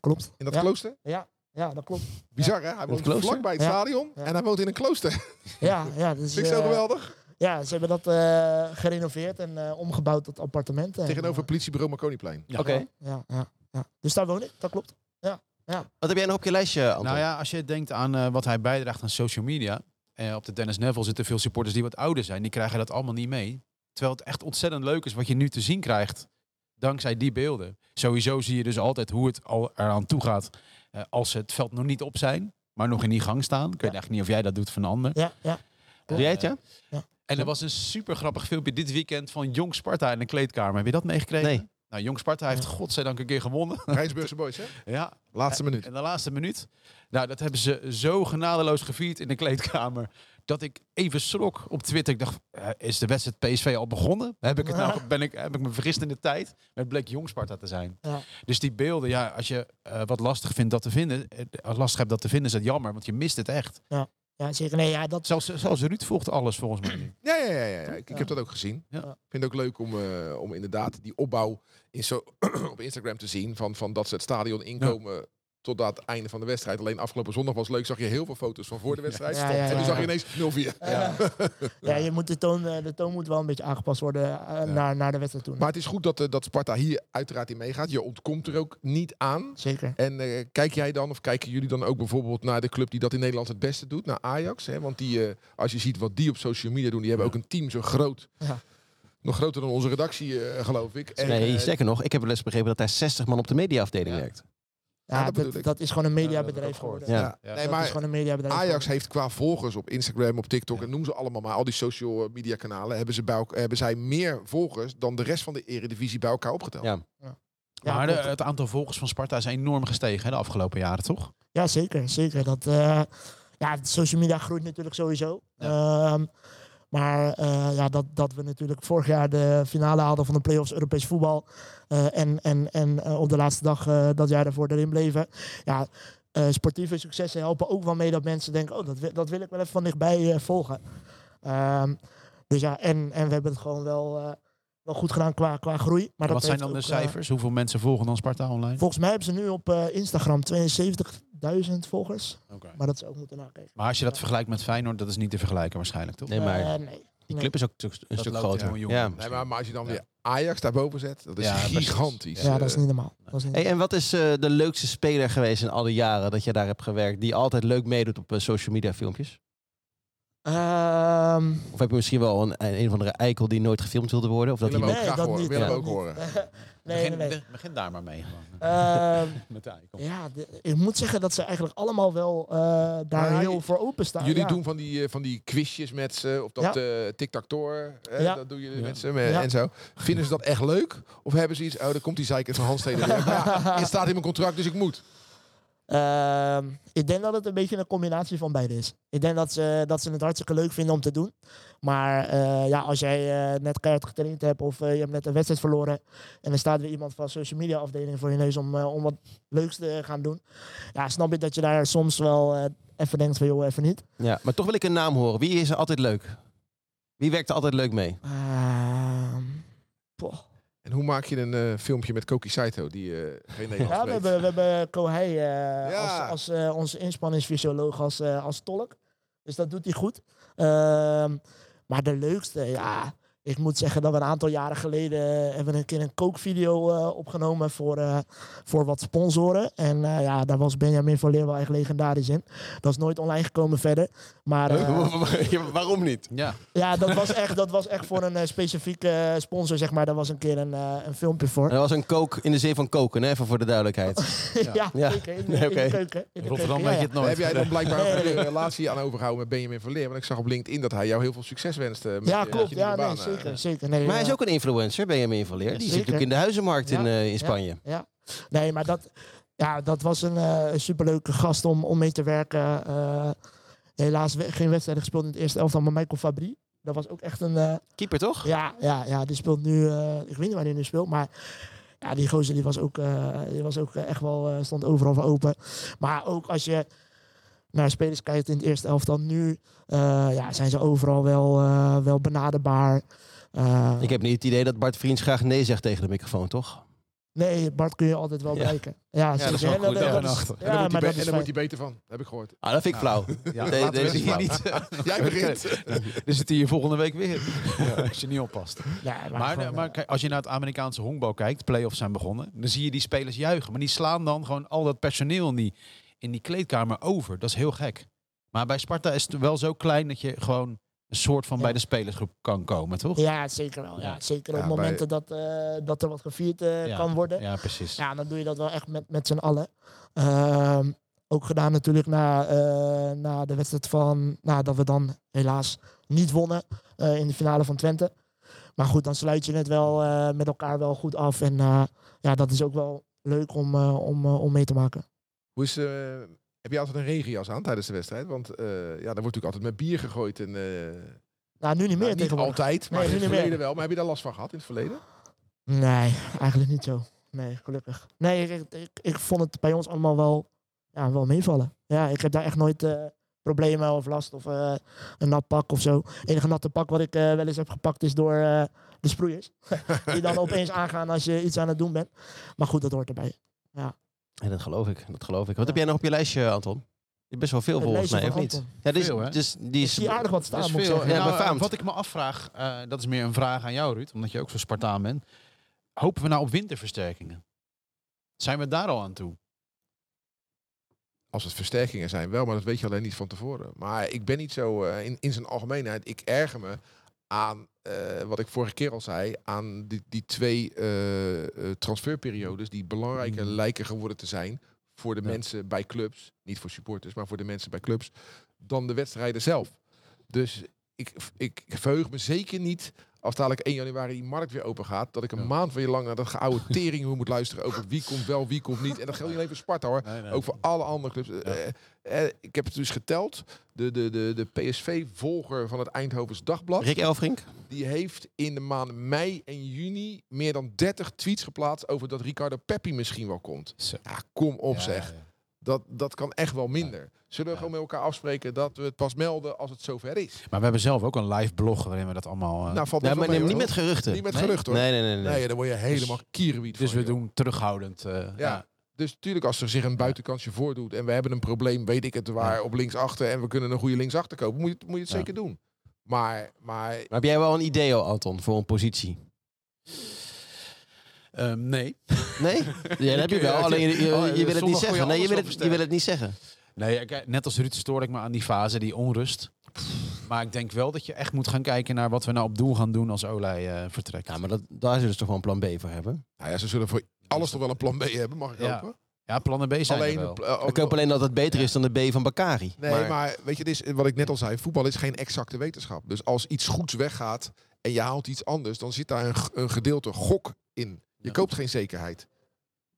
Speaker 4: Klopt.
Speaker 6: In dat
Speaker 4: ja.
Speaker 6: klooster?
Speaker 4: Ja, dat klopt.
Speaker 6: Bizar, hè? Hij woont
Speaker 3: klooster?
Speaker 6: vlakbij het
Speaker 4: Ja.
Speaker 6: stadion
Speaker 4: Ja.
Speaker 6: en hij woont in een klooster.
Speaker 4: Ja, ja, dus,
Speaker 6: Vind ik zo
Speaker 4: eh,
Speaker 6: geweldig.
Speaker 4: ja ze hebben dat eh, gerenoveerd en eh, omgebouwd tot appartementen. En,
Speaker 6: Tegenover politiebureau Marconiplein.
Speaker 5: Ja.
Speaker 3: Oké.
Speaker 4: eh, ja, ja, ja. Dus daar woon ik, dat klopt.
Speaker 3: Wat heb jij nog op je lijstje, Anton?
Speaker 5: Nou ja, als je denkt aan eh, wat hij bijdraagt aan social media. eh, op de Dennis Neville zitten veel supporters die wat ouder zijn. Die krijgen dat allemaal niet mee. Terwijl het echt ontzettend leuk is wat je nu te zien krijgt. Dankzij die beelden. Sowieso zie je dus altijd hoe het al eraan toe gaat. eh, als ze het veld nog niet op zijn, maar nog in die gang staan. Ik weet eigenlijk niet of jij dat doet van een ander.
Speaker 4: Ja, ja.
Speaker 3: Doe jij het, ja?
Speaker 5: En er was een super grappig filmpje dit weekend van Jong Sparta in de kleedkamer. Heb je dat meegekregen?
Speaker 3: Nee.
Speaker 5: Nou, Jong Sparta heeft godzijdank een keer gewonnen.
Speaker 6: Rijnsburgse boys, hè?
Speaker 5: ja,
Speaker 6: Laatste minuut.
Speaker 5: in de laatste minuut. Nou, dat hebben ze zo genadeloos gevierd in de kleedkamer. Dat ik even schrok op Twitter. Ik dacht, eh, is de wedstrijd PSV al begonnen? Heb ik, het nou, ben ik, heb ik me vergist in de tijd? Maar het bleek Jong Sparta te zijn.
Speaker 4: Ja.
Speaker 5: Dus die beelden, ja, als je eh, wat lastig vindt dat te vinden, eh, als lastig hebt dat te vinden, is dat jammer, want je mist het echt.
Speaker 4: Ja, zeker. Nee, ja, dat,
Speaker 5: Zelfs, zelfs Ruud volgt alles volgens mij. nu.
Speaker 6: Ja, ja, ja, ja. ja. Ik, ik heb dat ook gezien.
Speaker 5: Ja.
Speaker 6: Ik vind het ook leuk om, eh, om inderdaad die opbouw in zo, op Instagram te zien. Van, van dat ze het stadion inkomen tot aan het einde van de wedstrijd. Alleen afgelopen zondag was leuk, zag je heel veel foto's van voor de wedstrijd.
Speaker 4: Ja,
Speaker 6: En
Speaker 4: ja, ja,
Speaker 6: toen zag je
Speaker 4: ja.
Speaker 6: ineens 0-4.
Speaker 4: eh, Ja, je moet de, toon, eh, de toon moet wel een beetje aangepast worden eh, naar, naar de wedstrijd toe.
Speaker 6: Maar het is goed dat, eh, dat Sparta hier uiteraard in meegaat. Je ontkomt er ook niet aan.
Speaker 4: Zeker.
Speaker 6: En eh, kijk jij dan, of kijken jullie dan ook bijvoorbeeld naar de club die dat in Nederland het beste doet, naar Ajax? Hè? Want die, eh, als je ziet wat die op social media doen, die hebben ook een team zo groot.
Speaker 4: Ja.
Speaker 6: Nog groter dan onze redactie, eh, geloof ik. En,
Speaker 3: Nee,
Speaker 6: eh,
Speaker 3: zeker nog. Ik heb wel eens begrepen dat daar 60 man op de mediaafdeling
Speaker 5: Ja.
Speaker 3: werkt.
Speaker 4: Ja,
Speaker 6: Ja, dat bedoel
Speaker 4: dat,
Speaker 6: ik.
Speaker 4: dat is gewoon een mediabedrijf
Speaker 5: ook gehoord.
Speaker 4: geworden.
Speaker 3: Ja.
Speaker 5: Ja.
Speaker 6: nee,
Speaker 4: dat is
Speaker 6: maar
Speaker 4: gewoon een mediabedrijf
Speaker 6: Ajax
Speaker 4: geworden.
Speaker 6: heeft qua volgers op Instagram, op TikTok en noem ze allemaal maar, al die social media kanalen, hebben, ze bij elk- hebben zij meer volgers dan de rest van de eredivisie bij elkaar opgeteld.
Speaker 3: Ja.
Speaker 4: Ja,
Speaker 5: maar de-
Speaker 4: klopt.
Speaker 5: het aantal volgers van Sparta is enorm gestegen hè, de afgelopen jaren, toch?
Speaker 4: Ja, zeker. zeker. Dat, eh, ja, social media groeit natuurlijk sowieso. Ehm, maar eh, ja, dat, dat we natuurlijk vorig jaar de finale haalden van de play-offs Europees voetbal. eh, en en, en eh, op de laatste dag eh, dat jaar daarvoor erin bleven. Ja, eh, sportieve successen helpen ook wel mee dat mensen denken... oh, dat, wil- dat wil ik wel even van dichtbij eh, volgen. Ehm, dus ja, en, en we hebben het gewoon wel, eh, wel goed gedaan qua, qua groei. Maar dat
Speaker 5: En wat zijn
Speaker 4: heeft
Speaker 5: dan de
Speaker 4: ook, eh,
Speaker 5: cijfers? Hoeveel mensen volgen dan Sparta online?
Speaker 4: Volgens mij hebben ze nu op eh, Instagram 72.000 volgers.
Speaker 5: Oké.
Speaker 4: Maar dat is ook moeten nakijken.
Speaker 5: Maar als je dat vergelijkt met Feyenoord, dat is niet te vergelijken waarschijnlijk, toch?
Speaker 3: Nee, maar
Speaker 4: Eh, nee.
Speaker 3: die
Speaker 4: nee.
Speaker 3: club is ook een stuk- een
Speaker 5: Dat
Speaker 3: stuk
Speaker 5: loopt
Speaker 3: groter.
Speaker 5: heel jong.
Speaker 3: Ja.
Speaker 6: Nee, maar, maar als je dan
Speaker 5: Ja.
Speaker 6: weer Ajax daarboven zet, dat is
Speaker 5: Ja, precies.
Speaker 6: gigantisch.
Speaker 4: Ja, dat is
Speaker 6: Eh,
Speaker 4: niet normaal. Dat is niet
Speaker 3: Hey, en wat is eh, de leukste speler geweest in al die jaren dat je daar hebt gewerkt? Die altijd leuk meedoet op eh, social media filmpjes?
Speaker 4: Ehm,
Speaker 3: Of heb je misschien wel een, een of andere eikel die nooit gefilmd wilde worden? Of dat
Speaker 6: willen we
Speaker 3: iemand-
Speaker 6: ook
Speaker 4: Nee,
Speaker 6: graag
Speaker 4: dat
Speaker 6: horen. willen
Speaker 4: niet,
Speaker 6: we
Speaker 4: dat
Speaker 6: ook
Speaker 4: niet.
Speaker 6: horen.
Speaker 4: nee, nee,
Speaker 5: begin,
Speaker 4: nee.
Speaker 5: be- begin daar maar mee. Gewoon.
Speaker 4: Ehm,
Speaker 5: Met de eikel.
Speaker 4: ja, de- ik moet zeggen dat ze eigenlijk allemaal wel eh, daar
Speaker 6: Maar
Speaker 4: heel
Speaker 6: je-
Speaker 4: voor openstaan.
Speaker 6: Jullie
Speaker 4: ja.
Speaker 6: doen van die, eh, van die quizjes met ze, of dat eh tic-tac-toor, eh,
Speaker 4: Ja.
Speaker 6: dat doen jullie
Speaker 5: Ja.
Speaker 6: met ze eh,
Speaker 4: Ja.
Speaker 6: en zo. Vinden ze dat echt leuk? Of hebben ze iets, oh, daar komt die zeikert van Hans Steden weer. Maar ja, het staat in mijn contract, dus ik moet.
Speaker 4: Ehm, ik denk dat het een beetje een combinatie van beide is. Ik denk dat ze, dat ze het hartstikke leuk vinden om te doen. Maar eh, ja, als jij eh, net keihard getraind hebt of eh, je hebt net een wedstrijd verloren. En er staat weer iemand van social media afdeling voor je neus om, eh, om wat leuks te eh, gaan doen. Ja, snap je dat je daar soms wel eh, even denkt van joh, even niet.
Speaker 3: Ja, maar toch wil ik een naam horen. Wie is er altijd leuk? Wie werkt er altijd leuk mee?
Speaker 4: Ehm, poh.
Speaker 6: En hoe maak je een eh, filmpje met Koki Saito, die eh, geen
Speaker 4: Ja,
Speaker 6: Nederlands
Speaker 4: we
Speaker 6: spreekt?
Speaker 4: hebben, we hebben Kohei eh,
Speaker 6: Ja.
Speaker 4: als, als eh, onze inspanningsfysioloog, als, eh, als tolk. Dus dat doet hij goed. Ehm, maar de leukste, ja. Ik moet zeggen dat we een aantal jaren geleden eh, hebben we een keer een kookvideo eh, opgenomen voor, eh, voor wat sponsoren. En eh, ja, daar was Benjamin van Leer wel echt legendarisch in. Dat is nooit online gekomen verder. Maar eh,
Speaker 3: Ja, Waarom niet?
Speaker 5: Ja,
Speaker 4: ja, dat was, echt, dat was echt voor een eh, specifieke eh, sponsor, zeg maar. Daar was een keer een, eh, een filmpje voor.
Speaker 3: Er was een kook in de zin van koken, hè? even voor de
Speaker 4: Oh,
Speaker 3: duidelijkheid.
Speaker 4: Ja,
Speaker 3: Ja.
Speaker 4: zeker. In de,
Speaker 3: Nee,
Speaker 4: in de
Speaker 3: oké.
Speaker 4: keuken. In
Speaker 5: in
Speaker 4: de
Speaker 5: Rotterdam
Speaker 4: keuken, ja,
Speaker 5: weet je
Speaker 4: ja.
Speaker 5: het
Speaker 6: Daar
Speaker 5: nooit.
Speaker 6: heb jij dan blijkbaar ook een relatie aan overgehouden met Benjamin van Leer? Want ik zag op LinkedIn dat hij jou heel veel succes wenste. Met
Speaker 4: Ja,
Speaker 6: je- met
Speaker 4: klopt.
Speaker 6: je nieuwe
Speaker 4: Ja, nee,
Speaker 6: baan, eh.
Speaker 4: zeker. zeker. Nee,
Speaker 3: Maar hij is
Speaker 4: eh,
Speaker 3: ook een influencer, Benjamin van Leer. Die zit
Speaker 4: Jazeker.
Speaker 3: natuurlijk in de huizenmarkt in,
Speaker 4: Ja,
Speaker 3: eh, in Spanje.
Speaker 4: Nee, maar dat, ja, dat was een eh, superleuke gast om, om mee te werken. Eh, helaas we- geen wedstrijd gespeeld in het eerste elftal, maar Michael Fabri. Dat was ook echt een... eh,
Speaker 3: Keeper toch?
Speaker 4: ja, ja, ja, die speelt nu... eh, ik weet niet waar hij nu speelt, maar... Ja, die gozer die was ook, eh, die was ook eh, echt wel... eh, stond overal voor open. Maar ook als je naar spelers kijkt in het eerste elftal nu... eh, ja, zijn ze overal wel, eh, wel benaderbaar. Eh,
Speaker 3: Ik heb niet het idee dat Bart Vriends graag nee zegt tegen de microfoon, toch?
Speaker 4: Nee, Bart kun je altijd wel
Speaker 3: Ja.
Speaker 4: bereiken. Ja,
Speaker 3: dat is
Speaker 4: zeker.
Speaker 3: wel
Speaker 4: En dat-
Speaker 3: goed,
Speaker 4: dat
Speaker 5: ja.
Speaker 4: is-
Speaker 5: Dag en
Speaker 6: En dan,
Speaker 4: Ja,
Speaker 6: wordt hij
Speaker 4: maar dat
Speaker 6: be- en dan
Speaker 4: is fijn.
Speaker 6: wordt hij beter van, heb ik gehoord.
Speaker 3: Ah, dat vind ik flauw.
Speaker 5: Ja,
Speaker 3: Nee,
Speaker 5: laten we
Speaker 3: deze
Speaker 5: die
Speaker 3: is flauw.
Speaker 5: niet. eh,
Speaker 6: Jij begint.
Speaker 5: Dan zit hij hier volgende week weer. Als je niet oppast.
Speaker 4: Ja, maar,
Speaker 5: Maar,
Speaker 4: gewoon,
Speaker 5: eh, maar kijk, als je naar het Amerikaanse honkbal kijkt, playoffs zijn begonnen, dan zie je die spelers juichen. Maar die slaan dan gewoon al dat personeel in die, in die kleedkamer over. Dat is heel gek. Maar bij Sparta is het wel zo klein dat je gewoon een soort van
Speaker 4: Ja.
Speaker 5: bij de spelersgroep kan komen, toch?
Speaker 4: eh, ja, zeker wel. Ja,
Speaker 5: Ja.
Speaker 4: zeker
Speaker 6: Ja,
Speaker 4: op
Speaker 6: bij-
Speaker 4: momenten dat, eh, dat er wat gevierd eh,
Speaker 5: Ja,
Speaker 4: kan worden. Ja.
Speaker 5: Ja, precies.
Speaker 4: dan doe je dat wel echt met, met z'n allen. Ehm, ook gedaan natuurlijk na, eh, na de wedstrijd van... Nou, dat we dan helaas niet wonnen eh, in de finale van Twente. Maar goed, dan sluit je het wel eh, met elkaar wel goed af. En eh, ja, dat is ook wel leuk om, eh, om, eh, om mee te maken.
Speaker 6: Hoe is, eh, heb je altijd een regenjas aan tijdens de wedstrijd? Want eh, ja, daar wordt natuurlijk altijd met bier gegooid. En, eh,
Speaker 4: Nou, nu niet meer
Speaker 6: nou, niet
Speaker 4: tegenwoordig.
Speaker 6: altijd, maar
Speaker 4: Nee,
Speaker 6: in het
Speaker 4: nu niet meer.
Speaker 6: verleden wel. Maar heb je daar last van gehad in het verleden?
Speaker 4: Nee, eigenlijk niet zo. Nee, gelukkig. Nee, ik, ik, ik, ik vond het bij ons allemaal wel, ja, wel meevallen. Ja, ik heb daar echt nooit eh, problemen of last of eh, een nat pak of zo. Het enige natte pak wat ik eh, wel eens heb gepakt is door eh, de sproeiers. Die dan opeens aangaan als je iets aan het doen bent. Maar goed, dat hoort erbij.
Speaker 3: Ja, dat geloof ik, dat geloof ik. Wat heb jij nog op je lijstje, Anton? Je hebt best wel veel
Speaker 4: Het
Speaker 3: volgens mij,
Speaker 4: lijstje
Speaker 3: of
Speaker 4: van
Speaker 3: niet?
Speaker 4: Anton.
Speaker 3: Ja, dit is,
Speaker 5: Veel, hè?
Speaker 3: dus, die
Speaker 4: Ik
Speaker 3: is,
Speaker 4: zie aardig wat staan,
Speaker 5: Dat
Speaker 4: moet ik
Speaker 5: is veel.
Speaker 4: zeggen.
Speaker 3: Ja,
Speaker 5: En nou,
Speaker 3: befaamd.
Speaker 5: wat ik me afvraag, eh, dat is meer een vraag aan jou, Ruud, omdat je ook zo Spartaan bent. Hopen we nou op winterversterkingen? Zijn we daar al aan toe?
Speaker 6: Als het versterkingen zijn wel, maar dat weet je alleen niet van tevoren. Maar ik ben niet zo, eh, in, in zijn algemeenheid, ik erger me aan, eh, wat ik vorige keer al zei, aan die, die twee eh, eh, transferperiodes die belangrijker lijken geworden te zijn voor de mensen bij clubs, niet voor supporters, maar voor de mensen bij clubs, dan de wedstrijden zelf. Dus ik, ik verheug me zeker niet als dadelijk 1 januari die markt weer open gaat, dat ik een maand weer lang naar dat geoude tering moet luisteren over wie komt wel, wie komt niet. En dat geldt niet alleen voor Sparta hoor. Ook voor alle andere clubs. Eh, eh, ik heb het dus geteld. De, de, de, de PSV-volger van het Eindhovens Dagblad...
Speaker 3: Rick Elfrink.
Speaker 6: die heeft in de maanden mei en juni... meer dan 30 tweets geplaatst over dat Ricardo Peppi misschien wel komt.
Speaker 5: Zo.
Speaker 6: Ja, kom op zeg. Dat, dat kan echt wel minder. Zullen we gewoon met elkaar afspreken dat we het pas melden als het zover is?
Speaker 5: Maar we hebben zelf ook een live blog waarin we dat allemaal... eh,
Speaker 6: Nou, valt
Speaker 3: Ja,
Speaker 6: best wel
Speaker 3: maar
Speaker 6: mee,
Speaker 3: neem niet
Speaker 6: hoor.
Speaker 3: met geruchten.
Speaker 6: Niet met
Speaker 3: Nee?
Speaker 6: gerucht, hoor.
Speaker 3: Nee, nee, nee. nee.
Speaker 6: Nee, dan word je helemaal kierenwiet
Speaker 5: dus
Speaker 6: van,
Speaker 5: we
Speaker 6: joh.
Speaker 5: doen terughoudend. eh, ja.
Speaker 6: Ja. Dus natuurlijk, als er zich een buitenkantje voordoet en we hebben een probleem, weet ik het waar, op linksachter en we kunnen een goede linksachter kopen, moet je, het- moet je het
Speaker 5: Ja.
Speaker 6: zeker doen. Maar, maar
Speaker 3: Maar heb jij wel een idee, al, Anton, voor een positie?
Speaker 5: Ehm, nee.
Speaker 3: Nee? Ja, dat heb je wel,
Speaker 5: Ja,
Speaker 3: alleen je, je- je
Speaker 5: oh,
Speaker 3: wil het
Speaker 5: zondag
Speaker 3: niet
Speaker 5: gooi je
Speaker 3: zeggen. Nee, je
Speaker 5: alles
Speaker 3: wil
Speaker 5: op
Speaker 3: het, je wil het niet zeggen.
Speaker 5: nee ik- eh, net als Ruud stoor ik me aan die fase, die onrust. Maar ik denk wel dat je echt moet gaan kijken naar wat we nou op doel gaan doen als Olij eh, vertrekt.
Speaker 3: Ja, maar dat, daar zullen ze toch wel een plan B voor hebben?
Speaker 6: nou ja, ze zullen voor alles toch wel een plan B hebben, mag ik
Speaker 5: Ja,
Speaker 6: hopen.
Speaker 5: Ja, plannen B zijn
Speaker 6: Alleen,
Speaker 5: er wel.
Speaker 6: eh, ook-
Speaker 3: Ik hoop alleen dat het beter is dan de B van Bakari.
Speaker 6: nee, maar, weet je, dit is, wat ik net al zei, voetbal is geen exacte wetenschap. Dus als iets goeds weggaat en je haalt iets anders, dan zit daar een, g- een gedeelte gok in. Je
Speaker 5: Ja.
Speaker 6: koopt geen zekerheid.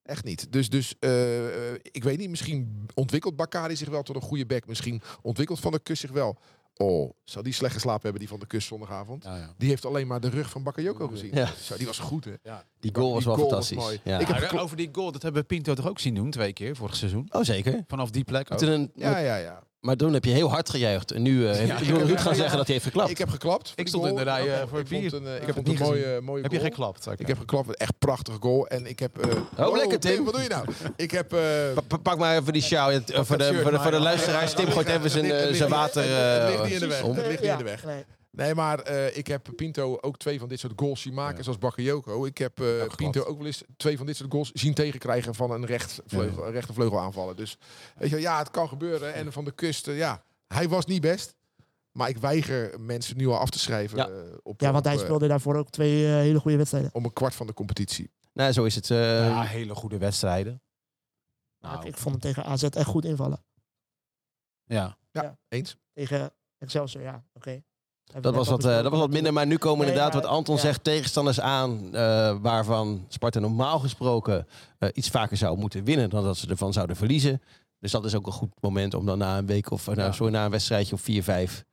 Speaker 6: Echt niet. Dus, dus eh, eh, ik weet niet, misschien ontwikkelt Bakari zich wel tot een goede back. Misschien ontwikkelt Van der Kus zich wel. Oh, zou die slecht geslapen hebben, die Van der Kus zondagavond?
Speaker 5: Ja, ja.
Speaker 6: Die heeft alleen maar de rug van Bakayoko gezien.
Speaker 3: Ja.
Speaker 6: Zo, die was goed, hè?
Speaker 3: Die goal was
Speaker 6: Die
Speaker 3: wel
Speaker 6: goal was
Speaker 3: fantastisch.
Speaker 6: mooi.
Speaker 3: ja.
Speaker 6: Ik heb
Speaker 5: Maar eh,
Speaker 6: geklo-
Speaker 5: over die goal, dat hebben we Pinto toch ook zien doen, twee keer vorig seizoen.
Speaker 3: Oh, zeker.
Speaker 5: Vanaf die plek ook.
Speaker 3: Toen een-
Speaker 6: Ja, ja, ja.
Speaker 3: Maar toen heb je heel hard gejuicht. En nu eh heeft
Speaker 5: ik
Speaker 3: wil
Speaker 5: heb-
Speaker 3: Ruud gaan
Speaker 5: ja,
Speaker 3: zeggen
Speaker 5: ja.
Speaker 3: dat hij heeft geklapt.
Speaker 6: Ik heb geklapt. voor
Speaker 5: Ik
Speaker 6: die
Speaker 5: stond
Speaker 6: goal.
Speaker 5: in de rij,
Speaker 6: Oké,
Speaker 5: eh, voor
Speaker 6: ik
Speaker 5: bier.
Speaker 6: vond een, eh,
Speaker 5: Ja,
Speaker 6: ik heb
Speaker 5: heb
Speaker 6: vond
Speaker 5: niet
Speaker 6: een mooie, mooie
Speaker 5: Heb je
Speaker 6: goal.
Speaker 5: geklapt? Oké.
Speaker 6: Ik heb geklapt. Echt prachtige goal. En ik heb... eh,
Speaker 3: Oh, lekker, Tim.
Speaker 6: Wat doe je nou? Ik heb... eh,
Speaker 3: Pa- pa- pak maar even die sjaal. Het- eh, Voor de, voor de, voor de luisteraars. Tim gooit even zijn, eh, zijn water
Speaker 6: Het ligt
Speaker 3: eh,
Speaker 6: niet in de weg.
Speaker 3: om.
Speaker 6: Het ligt niet in de weg.
Speaker 4: Nee.
Speaker 6: Nee, maar eh, ik heb Pinto ook twee van dit soort goals zien maken, zoals Bakayoko. Ik heb eh, Pinto ook wel eens twee van dit soort goals zien tegenkrijgen van een, rechtvleugel, een rechtervleugel aanvallen. Dus weet je, wel, ja, het kan gebeuren. En van de kust, eh, ja, hij was niet best. Maar ik weiger mensen nu al af te schrijven
Speaker 3: Ja.
Speaker 6: eh, op,
Speaker 4: Ja, want
Speaker 6: op,
Speaker 4: hij
Speaker 6: eh,
Speaker 4: speelde daarvoor ook twee eh, hele goede wedstrijden.
Speaker 6: om een kwart van de competitie.
Speaker 3: Nou, zo is het. eh,
Speaker 5: Ja, hele goede wedstrijden.
Speaker 4: Ik-
Speaker 5: Nou,
Speaker 4: Ik vond hem tegen AZ echt goed invallen.
Speaker 5: ja.
Speaker 6: Eens?
Speaker 4: Tegen Excelsior, ja. Oké.
Speaker 3: dat, was wat, eh, dat was wat minder. Maar nu komen
Speaker 4: Nee,
Speaker 3: inderdaad
Speaker 4: maar-
Speaker 3: wat Anton
Speaker 4: ja.
Speaker 3: zegt. Tegenstanders aan eh, waarvan Sparta normaal gesproken eh, iets vaker zou moeten winnen. Dan dat ze ervan zouden verliezen. Dus dat is ook een goed moment om dan na een week of eh, nou,
Speaker 5: Ja.
Speaker 3: sorry, na een wedstrijdje of 4-5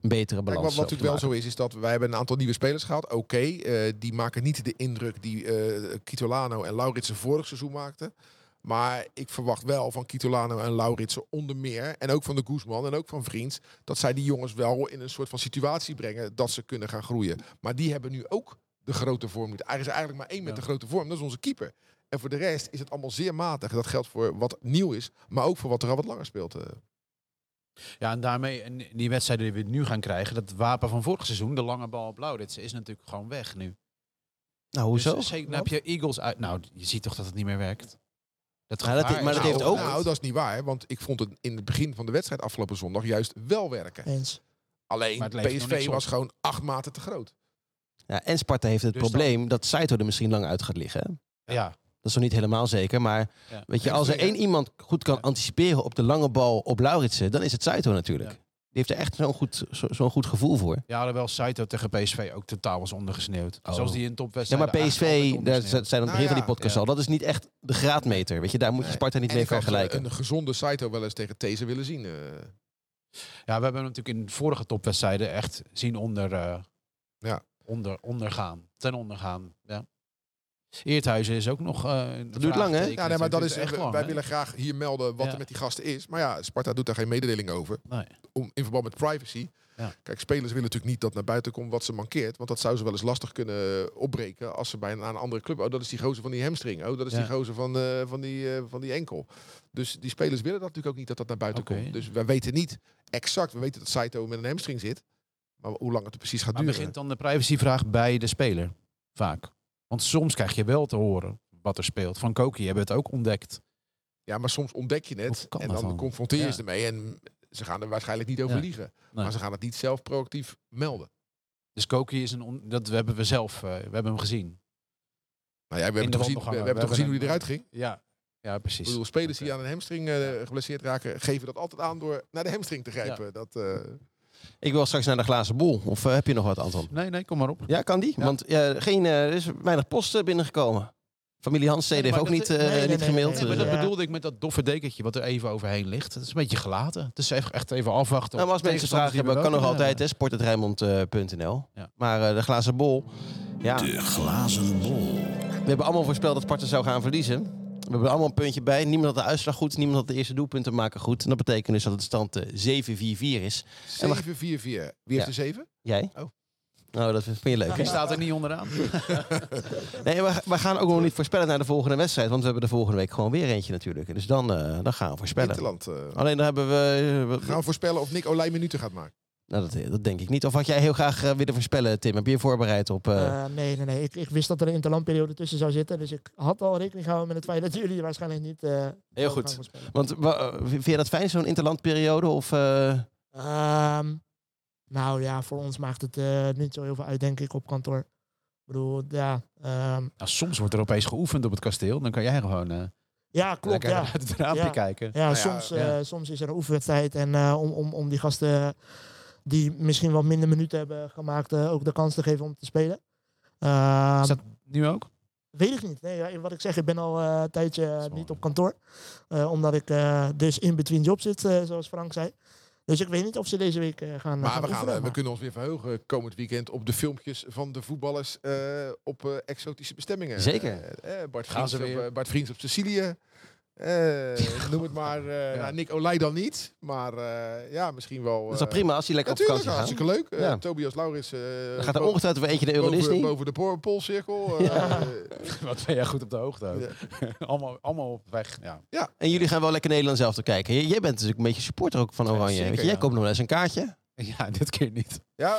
Speaker 3: een betere
Speaker 6: Kijk,
Speaker 3: balans
Speaker 6: wat, wat
Speaker 3: op te
Speaker 6: natuurlijk wel
Speaker 3: maken.
Speaker 6: zo is, is dat wij hebben een aantal nieuwe spelers gehad. Oké, eh, die maken niet de indruk die eh, Kitolano en Lauritsen vorig seizoen maakten. Maar ik verwacht wel van Kitolano en Lauritsen onder meer. En ook van de Guzman en ook van Vriends. Dat zij die jongens wel in een soort van situatie brengen dat ze kunnen gaan groeien. Maar die hebben nu ook de grote vorm niet. Er is eigenlijk maar één met
Speaker 5: Ja.
Speaker 6: de grote vorm. Dat is onze keeper. En voor de rest is het allemaal zeer matig. Dat geldt voor wat nieuw is, maar ook voor wat er al wat langer speelt. eh.
Speaker 5: ja, en daarmee, en die wedstrijden die we nu gaan krijgen, dat wapen van vorig seizoen, de lange bal op Lauritsen, is natuurlijk gewoon weg nu.
Speaker 3: Nou, hoezo?
Speaker 5: Dus, zeker, dan heb je Eagles uit. Nou, je ziet toch dat het niet meer werkt? Dat
Speaker 3: Ja, dat-
Speaker 5: gevaar
Speaker 3: maar
Speaker 5: is
Speaker 3: dat
Speaker 5: er
Speaker 3: heeft
Speaker 5: wel
Speaker 3: ook-
Speaker 5: uit.
Speaker 6: Nou, dat is niet waar. Want ik vond het in het begin van de wedstrijd afgelopen zondag juist wel werken.
Speaker 4: Eens.
Speaker 6: Alleen
Speaker 5: Maar het levert nog niks
Speaker 6: PSV
Speaker 5: op.
Speaker 6: was gewoon acht maten te groot.
Speaker 3: Ja, en Sparta heeft het
Speaker 5: Dus
Speaker 3: probleem dat Saito er misschien lang uit gaat liggen.
Speaker 5: Ja.
Speaker 3: Dat is nog niet helemaal zeker. Maar
Speaker 5: Ja.
Speaker 3: weet je,
Speaker 6: Geen
Speaker 3: als er
Speaker 6: tweede.
Speaker 3: één iemand goed kan anticiperen op de lange bal op Lauritsen, dan is het Saito natuurlijk.
Speaker 5: Ja.
Speaker 3: Die heeft er echt zo'n goed, zo- zo'n goed gevoel voor.
Speaker 5: ja, alhoewel Saito tegen PSV ook totaal was ondergesneeuwd.
Speaker 3: Oh.
Speaker 5: Zoals die in
Speaker 3: Ja,
Speaker 5: topwedstrijd.
Speaker 3: maar PSV, daar zijn aan het begin
Speaker 6: Nou ja,
Speaker 3: van die podcast
Speaker 5: ja.
Speaker 3: al, dat is niet echt de graadmeter. Weet je, daar moet je
Speaker 6: Nee.
Speaker 3: Sparta niet
Speaker 6: En
Speaker 3: mee
Speaker 6: ik had, eh,
Speaker 3: vergelijken.
Speaker 6: Een gezonde Saito wel eens tegen These willen zien. eh.
Speaker 5: Ja, we hebben hem natuurlijk in vorige topwedstrijden echt zien onder, eh,
Speaker 6: Ja.
Speaker 5: onder, ondergaan. Ten ondergaan, ja. Eerthuizen is ook nog... eh dat
Speaker 3: duurt lang, hè?
Speaker 6: ja, nee, maar dat is, we- wij
Speaker 5: hè?
Speaker 6: willen graag hier melden wat
Speaker 5: Ja.
Speaker 6: er met die gasten is. Maar ja, Sparta doet daar geen mededeling over.
Speaker 5: Nee.
Speaker 6: Om, in verband met privacy.
Speaker 5: Ja.
Speaker 6: Kijk, spelers willen natuurlijk niet dat naar buiten komt wat ze mankeert. Want dat zou ze wel eens lastig kunnen opbreken als ze bij een, aan een andere club... Oh, dat is die gozer van die hamstring. Oh, dat is
Speaker 5: Ja.
Speaker 6: die gozer van, eh, van, die, eh, van die enkel. Dus die spelers willen dat natuurlijk ook niet dat dat naar buiten
Speaker 5: Oké.
Speaker 6: komt. Dus wij weten niet exact. We weten dat Saito met een hamstring zit. Maar hoe lang het er precies gaat
Speaker 5: Maar
Speaker 6: duren.
Speaker 5: begint dan de privacyvraag bij de speler, vaak. Want soms krijg je wel te horen wat er speelt. Van Koki hebben het ook ontdekt.
Speaker 6: Ja, maar soms ontdek je het
Speaker 5: Hoe kan
Speaker 6: en
Speaker 5: dat
Speaker 6: dan,
Speaker 5: dan?
Speaker 6: confronteer je
Speaker 5: Ja.
Speaker 6: ze ermee. En ze gaan er waarschijnlijk niet over
Speaker 5: Ja.
Speaker 6: liegen.
Speaker 5: Nee.
Speaker 6: Maar ze gaan het niet zelf proactief melden.
Speaker 5: Dus Koki is een... on- dat hebben we zelf, eh, we hebben hem gezien.
Speaker 6: Nou ja, we hebben
Speaker 5: de
Speaker 6: toch gezien, we,
Speaker 5: wandelgangen.
Speaker 6: hebben toch
Speaker 5: We
Speaker 6: gezien hoe
Speaker 5: hebben
Speaker 6: die eruit ging.
Speaker 5: Ja, ja
Speaker 6: Ik
Speaker 5: precies.
Speaker 6: bedoel, spelers die
Speaker 5: Oké.
Speaker 6: aan een hamstring eh, geblesseerd raken, geven dat altijd aan door naar de hamstring te grijpen. Dat, eh,
Speaker 3: Ik wil straks naar de glazen bol. Of eh, heb je nog wat, Anton?
Speaker 5: Nee, nee, kom maar op.
Speaker 3: Ja, kan die?
Speaker 5: Ja.
Speaker 3: Want eh, geen, eh, er is weinig post eh, binnengekomen. Familie Hansstede
Speaker 5: Nee,
Speaker 3: heeft
Speaker 5: maar
Speaker 3: ook
Speaker 5: dat-
Speaker 3: niet, eh,
Speaker 4: nee, nee,
Speaker 3: niet
Speaker 4: nee,
Speaker 3: gemaild.
Speaker 4: nee,
Speaker 5: Nee, maar
Speaker 3: eh.
Speaker 5: dat
Speaker 4: Ja.
Speaker 5: bedoelde ik met dat doffe dekentje wat er even overheen ligt. Het is een beetje gelaten. Het is even- echt even afwachten.
Speaker 3: Nou, maar als
Speaker 5: of
Speaker 3: mensen vragen hebben, kan nog
Speaker 5: tegenstanders
Speaker 3: altijd,
Speaker 5: die eh,
Speaker 3: hè, eh, sport.rijnmond.nl.
Speaker 5: Ja.
Speaker 3: Maar eh, de glazen bol, ja,
Speaker 2: De glazen bol.
Speaker 3: we hebben allemaal voorspeld dat Sparta zou gaan verliezen. We hebben er allemaal een puntje bij. Niemand had de uitslag goed, niemand had de eerste doelpunten maken goed. En dat betekent dus dat het stand eh, 7-4-4 is.
Speaker 6: 7-4-4. Wie heeft
Speaker 3: Ja.
Speaker 6: de 7?
Speaker 3: Jij?
Speaker 6: Oh.
Speaker 3: Nou, dat vind je leuk.
Speaker 5: hebben.
Speaker 3: hè?
Speaker 5: Die staat er niet onderaan.
Speaker 3: Nee, we, we gaan ook nog niet voorspellen naar de volgende wedstrijd. Want we hebben de volgende week gewoon weer eentje natuurlijk. Dus dan, eh, dan gaan we voorspellen.
Speaker 6: Interland. eh,
Speaker 3: Alleen dan hebben we... eh, we-
Speaker 6: gaan we voorspellen of Nick Olij minuten gaat maken.
Speaker 3: nou, dat, dat denk ik niet. Of had jij heel graag eh, willen voorspellen, Tim? Heb je je voorbereid op...
Speaker 5: Nou,
Speaker 3: eh,
Speaker 4: Eh, nee, nee, nee. Ik, ik wist dat er een interlandperiode tussen zou zitten. Dus ik had al rekening gehouden met het feit dat jullie waarschijnlijk niet... eh, zouden
Speaker 3: goed.
Speaker 4: gaan voorspellen.
Speaker 3: Want wa- eh, vind je dat fijn, zo'n interlandperiode? Of, eh,
Speaker 4: Ehm, nou ja, voor ons maakt het eh, niet zo heel veel uit, denk ik, op kantoor. Ik bedoel, ja. ehm,
Speaker 5: Nou, soms wordt er opeens geoefend op het kasteel. Dan kan jij gewoon eh
Speaker 4: ja, klopt,
Speaker 5: lekker
Speaker 4: ja.
Speaker 5: uit het raampje
Speaker 4: Ja.
Speaker 5: kijken.
Speaker 4: Ja,
Speaker 6: Nou ja,
Speaker 4: soms, eh,
Speaker 5: ja.
Speaker 4: soms is er een oefenwedstrijd. En eh, om, om, om die gasten die misschien wat minder minuten hebben gemaakt, eh, ook de kans te geven om te spelen. Ehm,
Speaker 5: Is dat nu ook?
Speaker 4: Weet ik niet. Nee, ja, wat ik zeg, ik ben al eh, een tijdje eh,
Speaker 5: Zwaar.
Speaker 4: niet op kantoor. Eh, omdat ik eh, dus in between job zit, eh, zoals Frank zei. Dus ik weet niet of ze deze week eh, gaan.
Speaker 6: Maar we, gaan,
Speaker 4: oefenen,
Speaker 6: eh, we
Speaker 4: maar-
Speaker 6: kunnen ons weer verheugen komend weekend op de filmpjes van de voetballers eh, op eh, exotische bestemmingen.
Speaker 3: Zeker.
Speaker 6: Eh, eh, Bart,
Speaker 5: Gaan
Speaker 6: Vriends op,
Speaker 5: ze weer.
Speaker 6: eh, Bart Vriends op Sicilië. Eh, noem het maar. eh,
Speaker 5: Ja.
Speaker 6: nou, Nick Olij dan niet. Maar eh, ja, misschien wel.
Speaker 3: dat is
Speaker 6: eh,
Speaker 3: toch prima als hij lekker op
Speaker 6: Natuurlijk,
Speaker 3: vakantie gaat?
Speaker 6: hartstikke leuk. Eh,
Speaker 3: Ja.
Speaker 6: Tobias Lauris eh,
Speaker 3: Dan gaat er
Speaker 6: boven-
Speaker 3: ongetwijfeld weer eentje de Euro
Speaker 6: boven,
Speaker 3: Disney.
Speaker 6: boven de po- Poolcirkel. eh,
Speaker 5: Wat ben jij goed op de hoogte ook. allemaal, allemaal op weg. Ja.
Speaker 3: En jullie gaan wel lekker Nederland zelf te kijken. J- jij bent natuurlijk een beetje supporter ook van Oranje.
Speaker 5: zeker,
Speaker 3: weet je? Jij
Speaker 5: ja.
Speaker 3: koopt nog wel eens een kaartje.
Speaker 5: ja, dit keer niet.
Speaker 6: ja,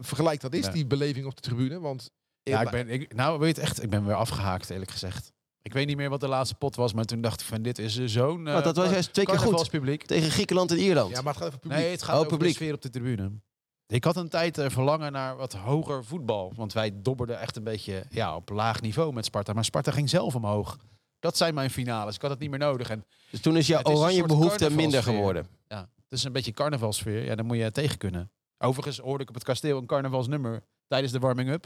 Speaker 6: vergelijk dat is
Speaker 5: Ja.
Speaker 6: die beleving op de tribune. Want
Speaker 5: Ja, ik ben, ik, nou, weet je echt, ik ben weer afgehaakt, eerlijk gezegd. Ik weet niet meer wat de laatste pot was, maar toen dacht ik van dit is eh, zo'n eh,
Speaker 3: Want dat was
Speaker 5: kar-
Speaker 3: juist twee keer goed.
Speaker 5: carnavalspubliek.
Speaker 3: Tegen Griekenland en Ierland.
Speaker 6: Ja, maar het gaat even publiek.
Speaker 5: Nee, het gaat
Speaker 3: Oh,
Speaker 5: over
Speaker 3: publiek.
Speaker 5: de sfeer op de tribune. Ik had een tijd eh, verlangen naar wat hoger voetbal. Want wij dobberden echt een beetje ja, op laag niveau met Sparta. Maar Sparta ging zelf omhoog. Dat zijn mijn finales. Ik had het niet meer nodig. En
Speaker 3: Dus toen is jouw
Speaker 5: Het is een
Speaker 3: oranje
Speaker 5: soort
Speaker 3: behoefte minder
Speaker 5: carnavalsfeer.
Speaker 3: geworden.
Speaker 5: ja, het is een beetje carnavalsfeer. Ja, daar moet je tegen kunnen. Overigens hoorde ik op het kasteel een carnavalsnummer tijdens de warming-up.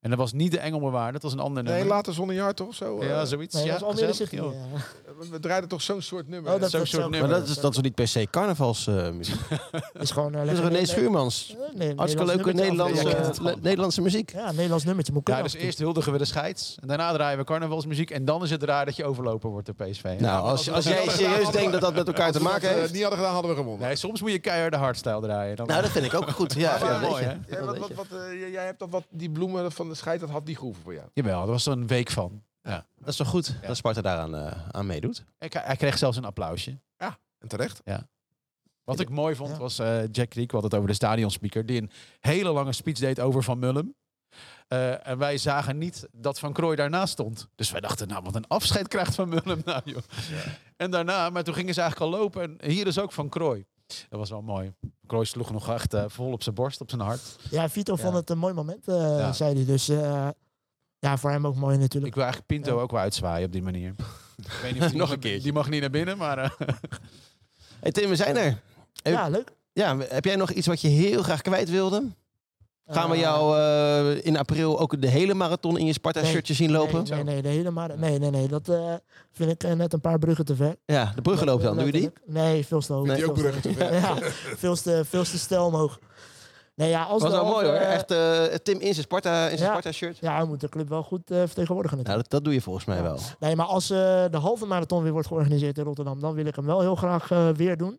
Speaker 5: En dat was niet de Engelbewaarde, dat was een ander
Speaker 6: Nee,
Speaker 5: nummer.
Speaker 6: later zonder jaar toch? Zo, eh,
Speaker 5: Ja, zoiets.
Speaker 4: Nee,
Speaker 5: ja,
Speaker 4: dat is Almere
Speaker 5: gezellig,
Speaker 4: City.
Speaker 5: joh.
Speaker 4: ja.
Speaker 6: we- we draaiden toch zo'n soort nummer.
Speaker 4: Oh, dat
Speaker 5: zo'n
Speaker 4: dat
Speaker 5: soort
Speaker 4: ook-
Speaker 5: nummer.
Speaker 3: Maar dat is, dat is niet per se carnavalsmuziek. Uh,
Speaker 4: is gewoon eh,
Speaker 3: dat is
Speaker 4: lekker.
Speaker 3: René
Speaker 4: Nee,
Speaker 3: Schuurmans.
Speaker 4: nee, nee,
Speaker 3: Hartstikke leuke
Speaker 4: Nederlands
Speaker 3: Nederlandse,
Speaker 4: nummertje
Speaker 5: Nederlands,
Speaker 4: afbreken.
Speaker 5: eh,
Speaker 3: le- Nederlandse muziek.
Speaker 4: Ja, een Nederlands nummertje moet
Speaker 5: Ja,
Speaker 4: kunnen.
Speaker 5: dus eerst huldigen we de scheids. En daarna draaien we carnavalsmuziek. En dan is het raar dat je overlopen wordt door PSV. Ja,
Speaker 3: Nou,
Speaker 5: want
Speaker 3: als,
Speaker 5: we
Speaker 3: als
Speaker 5: dat
Speaker 3: jij
Speaker 5: wel-
Speaker 3: serieus denkt dat dat met elkaar te maken
Speaker 6: Als we
Speaker 3: heeft...
Speaker 6: dat, eh, niet hadden gedaan, hadden we gewonnen.
Speaker 5: Nee, soms moet je keiharde hardstyle draaien. Dan
Speaker 3: Nou, dat vind ik ook goed. Ja,
Speaker 5: Ja,
Speaker 3: ja,
Speaker 5: mooi,
Speaker 3: weet je.
Speaker 5: hè?
Speaker 6: Ja,
Speaker 3: Dat
Speaker 6: wat,
Speaker 3: weet
Speaker 6: wat,
Speaker 3: je.
Speaker 6: wat, eh, j- jij hebt dat wat, die bloemen van de scheid, dat had die groeven voor jou.
Speaker 5: Jawel, dat was er een week van.
Speaker 3: Dat is toch goed dat Sparta daaraan eh, aan meedoet?
Speaker 5: Ik- hij kreeg zelfs een applausje.
Speaker 6: En terecht.
Speaker 5: Wat ik mooi vond
Speaker 4: Ja.
Speaker 5: was eh, Jack Kriek, had het over de stadionspeaker, die een hele lange speech deed over Van Mullum. Eh, en wij zagen niet dat Van Krooi daarnaast stond. Dus wij dachten, nou, wat een afscheid krijgt Van Mullum nou, joh. En daarna, maar toen gingen ze eigenlijk al lopen. En hier is ook Van Krooi. Dat was wel mooi. Van Krooi sloeg nog echt eh, vol op zijn borst, op zijn hart.
Speaker 4: Ja, Vito
Speaker 5: Ja.
Speaker 4: vond het een mooi moment, eh,
Speaker 5: Ja.
Speaker 4: zei hij. Dus eh, ja, voor hem ook mooi natuurlijk.
Speaker 5: Ik wil eigenlijk Pinto ook wel uitzwaaien op die manier. Ik weet niet of die
Speaker 3: Nog een
Speaker 5: mag-
Speaker 3: keertje.
Speaker 5: Die mag niet naar binnen, maar... eh,
Speaker 3: Hey Tim, we zijn er. Ik-
Speaker 4: ja, leuk.
Speaker 3: Ja, heb jij nog iets wat je heel graag kwijt wilde? Gaan we
Speaker 4: Eh,
Speaker 3: jou eh, in april ook de hele marathon in je Sparta-shirtje zien lopen?
Speaker 4: Nee, nee, nee, de hele maar, nee, nee, nee. Dat eh, vind ik eh, net een paar bruggen te ver.
Speaker 3: Ja, de bruggen loopt dan. Doe je die?
Speaker 4: Letterlijk. Nee, veel te hoog.
Speaker 3: Vindt
Speaker 6: Die ook
Speaker 4: Veel te
Speaker 6: bruggen te ver.
Speaker 4: hoog. Ja, veel te, veel te stel omhoog. Nee, ja, als
Speaker 3: Was
Speaker 4: de
Speaker 3: wel
Speaker 4: halve-
Speaker 3: mooi hoor. Echt eh, Tim in zijn Sparta- in zijn
Speaker 4: Ja.
Speaker 3: Sparta-shirt.
Speaker 4: Ja, hij moet de club wel goed eh, vertegenwoordigen
Speaker 3: nou,
Speaker 4: natuurlijk.
Speaker 3: dat, dat doe je volgens mij
Speaker 4: Ja.
Speaker 3: wel.
Speaker 4: Nee, maar als eh, de halve marathon weer wordt georganiseerd in Rotterdam, dan wil ik hem wel heel graag eh, weer doen.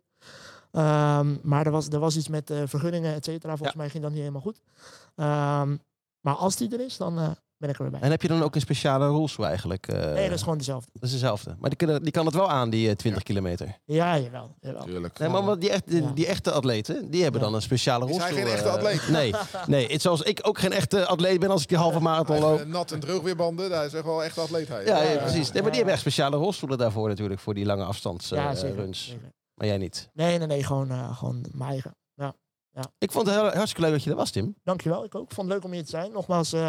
Speaker 4: Eh, Ehm, maar er was, er was iets met eh, vergunningen, et cetera. Volgens mij ging dat niet helemaal goed. Ehm, maar als die er is, dan eh, ben ik er weer bij.
Speaker 3: En heb je dan ook een speciale rolstoel eigenlijk? eh,
Speaker 4: Nee, dat is gewoon dezelfde.
Speaker 3: dat is dezelfde. Maar die, kunnen, die kan het wel aan, die eh, 20 kilometer.
Speaker 4: Ja, jawel. jawel.
Speaker 6: Tuurlijk. Nou,
Speaker 3: Nee, maar wat die, echt, die,
Speaker 4: Ja.
Speaker 3: die echte atleten, die hebben
Speaker 4: Ja.
Speaker 3: dan een speciale
Speaker 6: Is hij
Speaker 3: rolstoel.
Speaker 6: geen echte
Speaker 3: eh,
Speaker 6: atleet?
Speaker 3: nee, nee. Het, zoals ik ook geen echte atleet ben als ik die halve marathon
Speaker 6: Hij
Speaker 3: loop.
Speaker 6: heeft, eh, nat en droog weer banden. Daar is echt wel echt atleet hij.
Speaker 3: Ja, ja,
Speaker 4: ja,
Speaker 3: precies. Nee, maar die
Speaker 4: ja,
Speaker 3: hebben
Speaker 4: ja.
Speaker 3: echt speciale rolstoelen daarvoor natuurlijk, voor die lange
Speaker 4: ja,
Speaker 3: afstandsruns.
Speaker 4: zeker,
Speaker 3: eh, runs.
Speaker 4: zeker.
Speaker 3: maar jij niet.
Speaker 4: Nee, nee, nee, gewoon, eh gewoon mijn eigen.
Speaker 3: Ik vond het heel, hartstikke leuk dat je er was, Tim.
Speaker 4: Dankjewel, ik ook. Vond het leuk om hier te zijn. Nogmaals, eh,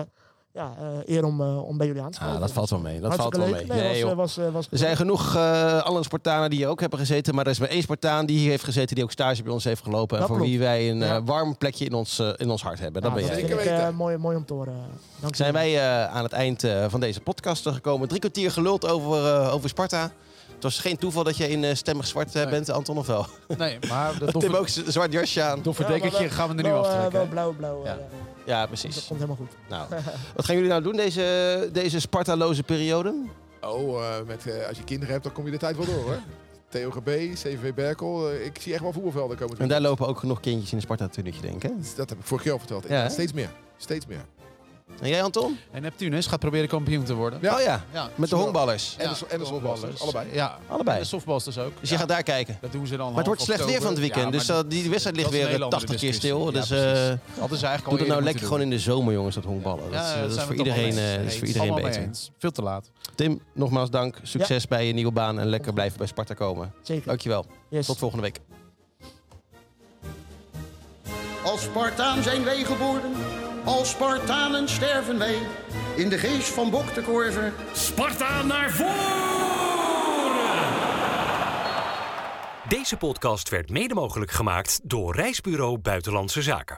Speaker 4: ja, eh, eer om, eh, om bij jullie aan te
Speaker 3: Ah,
Speaker 4: spreken.
Speaker 3: dat valt wel mee. Dat valt
Speaker 4: Hartstikke
Speaker 3: wel mee.
Speaker 4: leuk. Nee,
Speaker 3: Nee,
Speaker 4: was,
Speaker 3: joh.
Speaker 4: eh, was, eh, was
Speaker 3: Er zijn genoeg eh alle Spartanen die hier ook hebben gezeten. Maar er is maar één Spartaan die hier heeft gezeten, die ook stage bij ons heeft gelopen. En
Speaker 4: Dat
Speaker 3: voor
Speaker 4: klopt.
Speaker 3: wie wij een eh,
Speaker 4: Ja.
Speaker 3: warm plekje in ons, eh, in ons hart hebben. Dat
Speaker 4: Ja,
Speaker 3: ben jij.
Speaker 4: vind
Speaker 6: Zeker
Speaker 4: ik, eh,
Speaker 6: weten.
Speaker 4: mooi, mooi om te horen. Dankjewel.
Speaker 3: Zijn wij eh, aan het eind eh, van deze podcast gekomen. Drie kwartier geluld over, eh, over Sparta. Het was geen toeval dat je in eh, stemmig zwart eh,
Speaker 5: Nee.
Speaker 3: bent, Anton, of wel?
Speaker 5: Nee, maar dat
Speaker 3: Tim
Speaker 5: doffe,
Speaker 3: ook z- zwart jasje aan.
Speaker 5: doffe
Speaker 4: Ja, maar
Speaker 5: dekentje
Speaker 4: wel-
Speaker 5: gaan we er nu
Speaker 4: wel, eh,
Speaker 5: aftrekken.
Speaker 4: wel blauw, blauw.
Speaker 5: Ja.
Speaker 4: eh, ja.
Speaker 3: Ja,
Speaker 4: Dat
Speaker 3: precies.
Speaker 4: komt helemaal goed.
Speaker 3: Nou, wat gaan jullie nou doen deze, deze Spartaloze periode?
Speaker 6: Oh, eh, met, eh, als je kinderen hebt, dan kom je de tijd wel door hoor. TOGB, CVV Berkel. eh, ik zie echt wel voetbalvelden komen.
Speaker 3: En daar lopen ook genoeg kindjes in een Sparta-tunnetje, denk ik. hè?
Speaker 6: Dat heb ik vorig jaar al verteld.
Speaker 3: Ja, hè?
Speaker 6: Steeds meer. Steeds meer.
Speaker 3: En jij, Anton?
Speaker 5: En Neptunus gaat proberen kampioen te worden.
Speaker 6: Ja.
Speaker 3: Oh ja,
Speaker 5: Ja.
Speaker 3: met de
Speaker 6: Zo.
Speaker 3: honkballers.
Speaker 6: En de so- en de softballers, allebei.
Speaker 5: Ja. En
Speaker 3: Allebei.
Speaker 5: de softballers ook.
Speaker 3: Dus je
Speaker 5: Ja.
Speaker 3: gaat daar kijken.
Speaker 5: Dat doen ze dan
Speaker 3: Maar het wordt slecht weer van het weekend, dus dat, die wedstrijd ligt weer eh, 80 keer stil. Dus eh,
Speaker 5: Hadden ze eigenlijk al
Speaker 3: doe dat
Speaker 5: eerder
Speaker 3: nou
Speaker 5: moeten
Speaker 3: lekker gewoon in de zomer, jongens, dat honkballen.
Speaker 5: doen.
Speaker 3: Dat is,
Speaker 5: Ja,
Speaker 3: dat is
Speaker 5: zijn
Speaker 3: voor,
Speaker 5: we het allemaal
Speaker 3: iedereen,
Speaker 5: mee
Speaker 3: eh, dat
Speaker 5: eens.
Speaker 3: is voor iedereen
Speaker 5: Allemaal mee
Speaker 3: beter.
Speaker 5: eens. Veel te laat.
Speaker 3: Tim, nogmaals dank. Succes bij je nieuwe baan en lekker blijven bij Sparta komen.
Speaker 4: Zeker.
Speaker 3: Dankjewel.
Speaker 4: Yes.
Speaker 3: Tot volgende week.
Speaker 7: Als Spartaan zijn wij geboren, als Spartanen sterven wij. In de geest van Bok de Korver
Speaker 2: Sparta naar voren!
Speaker 1: Deze podcast werd mede mogelijk gemaakt door Reisbureau Buitenlandse Zaken.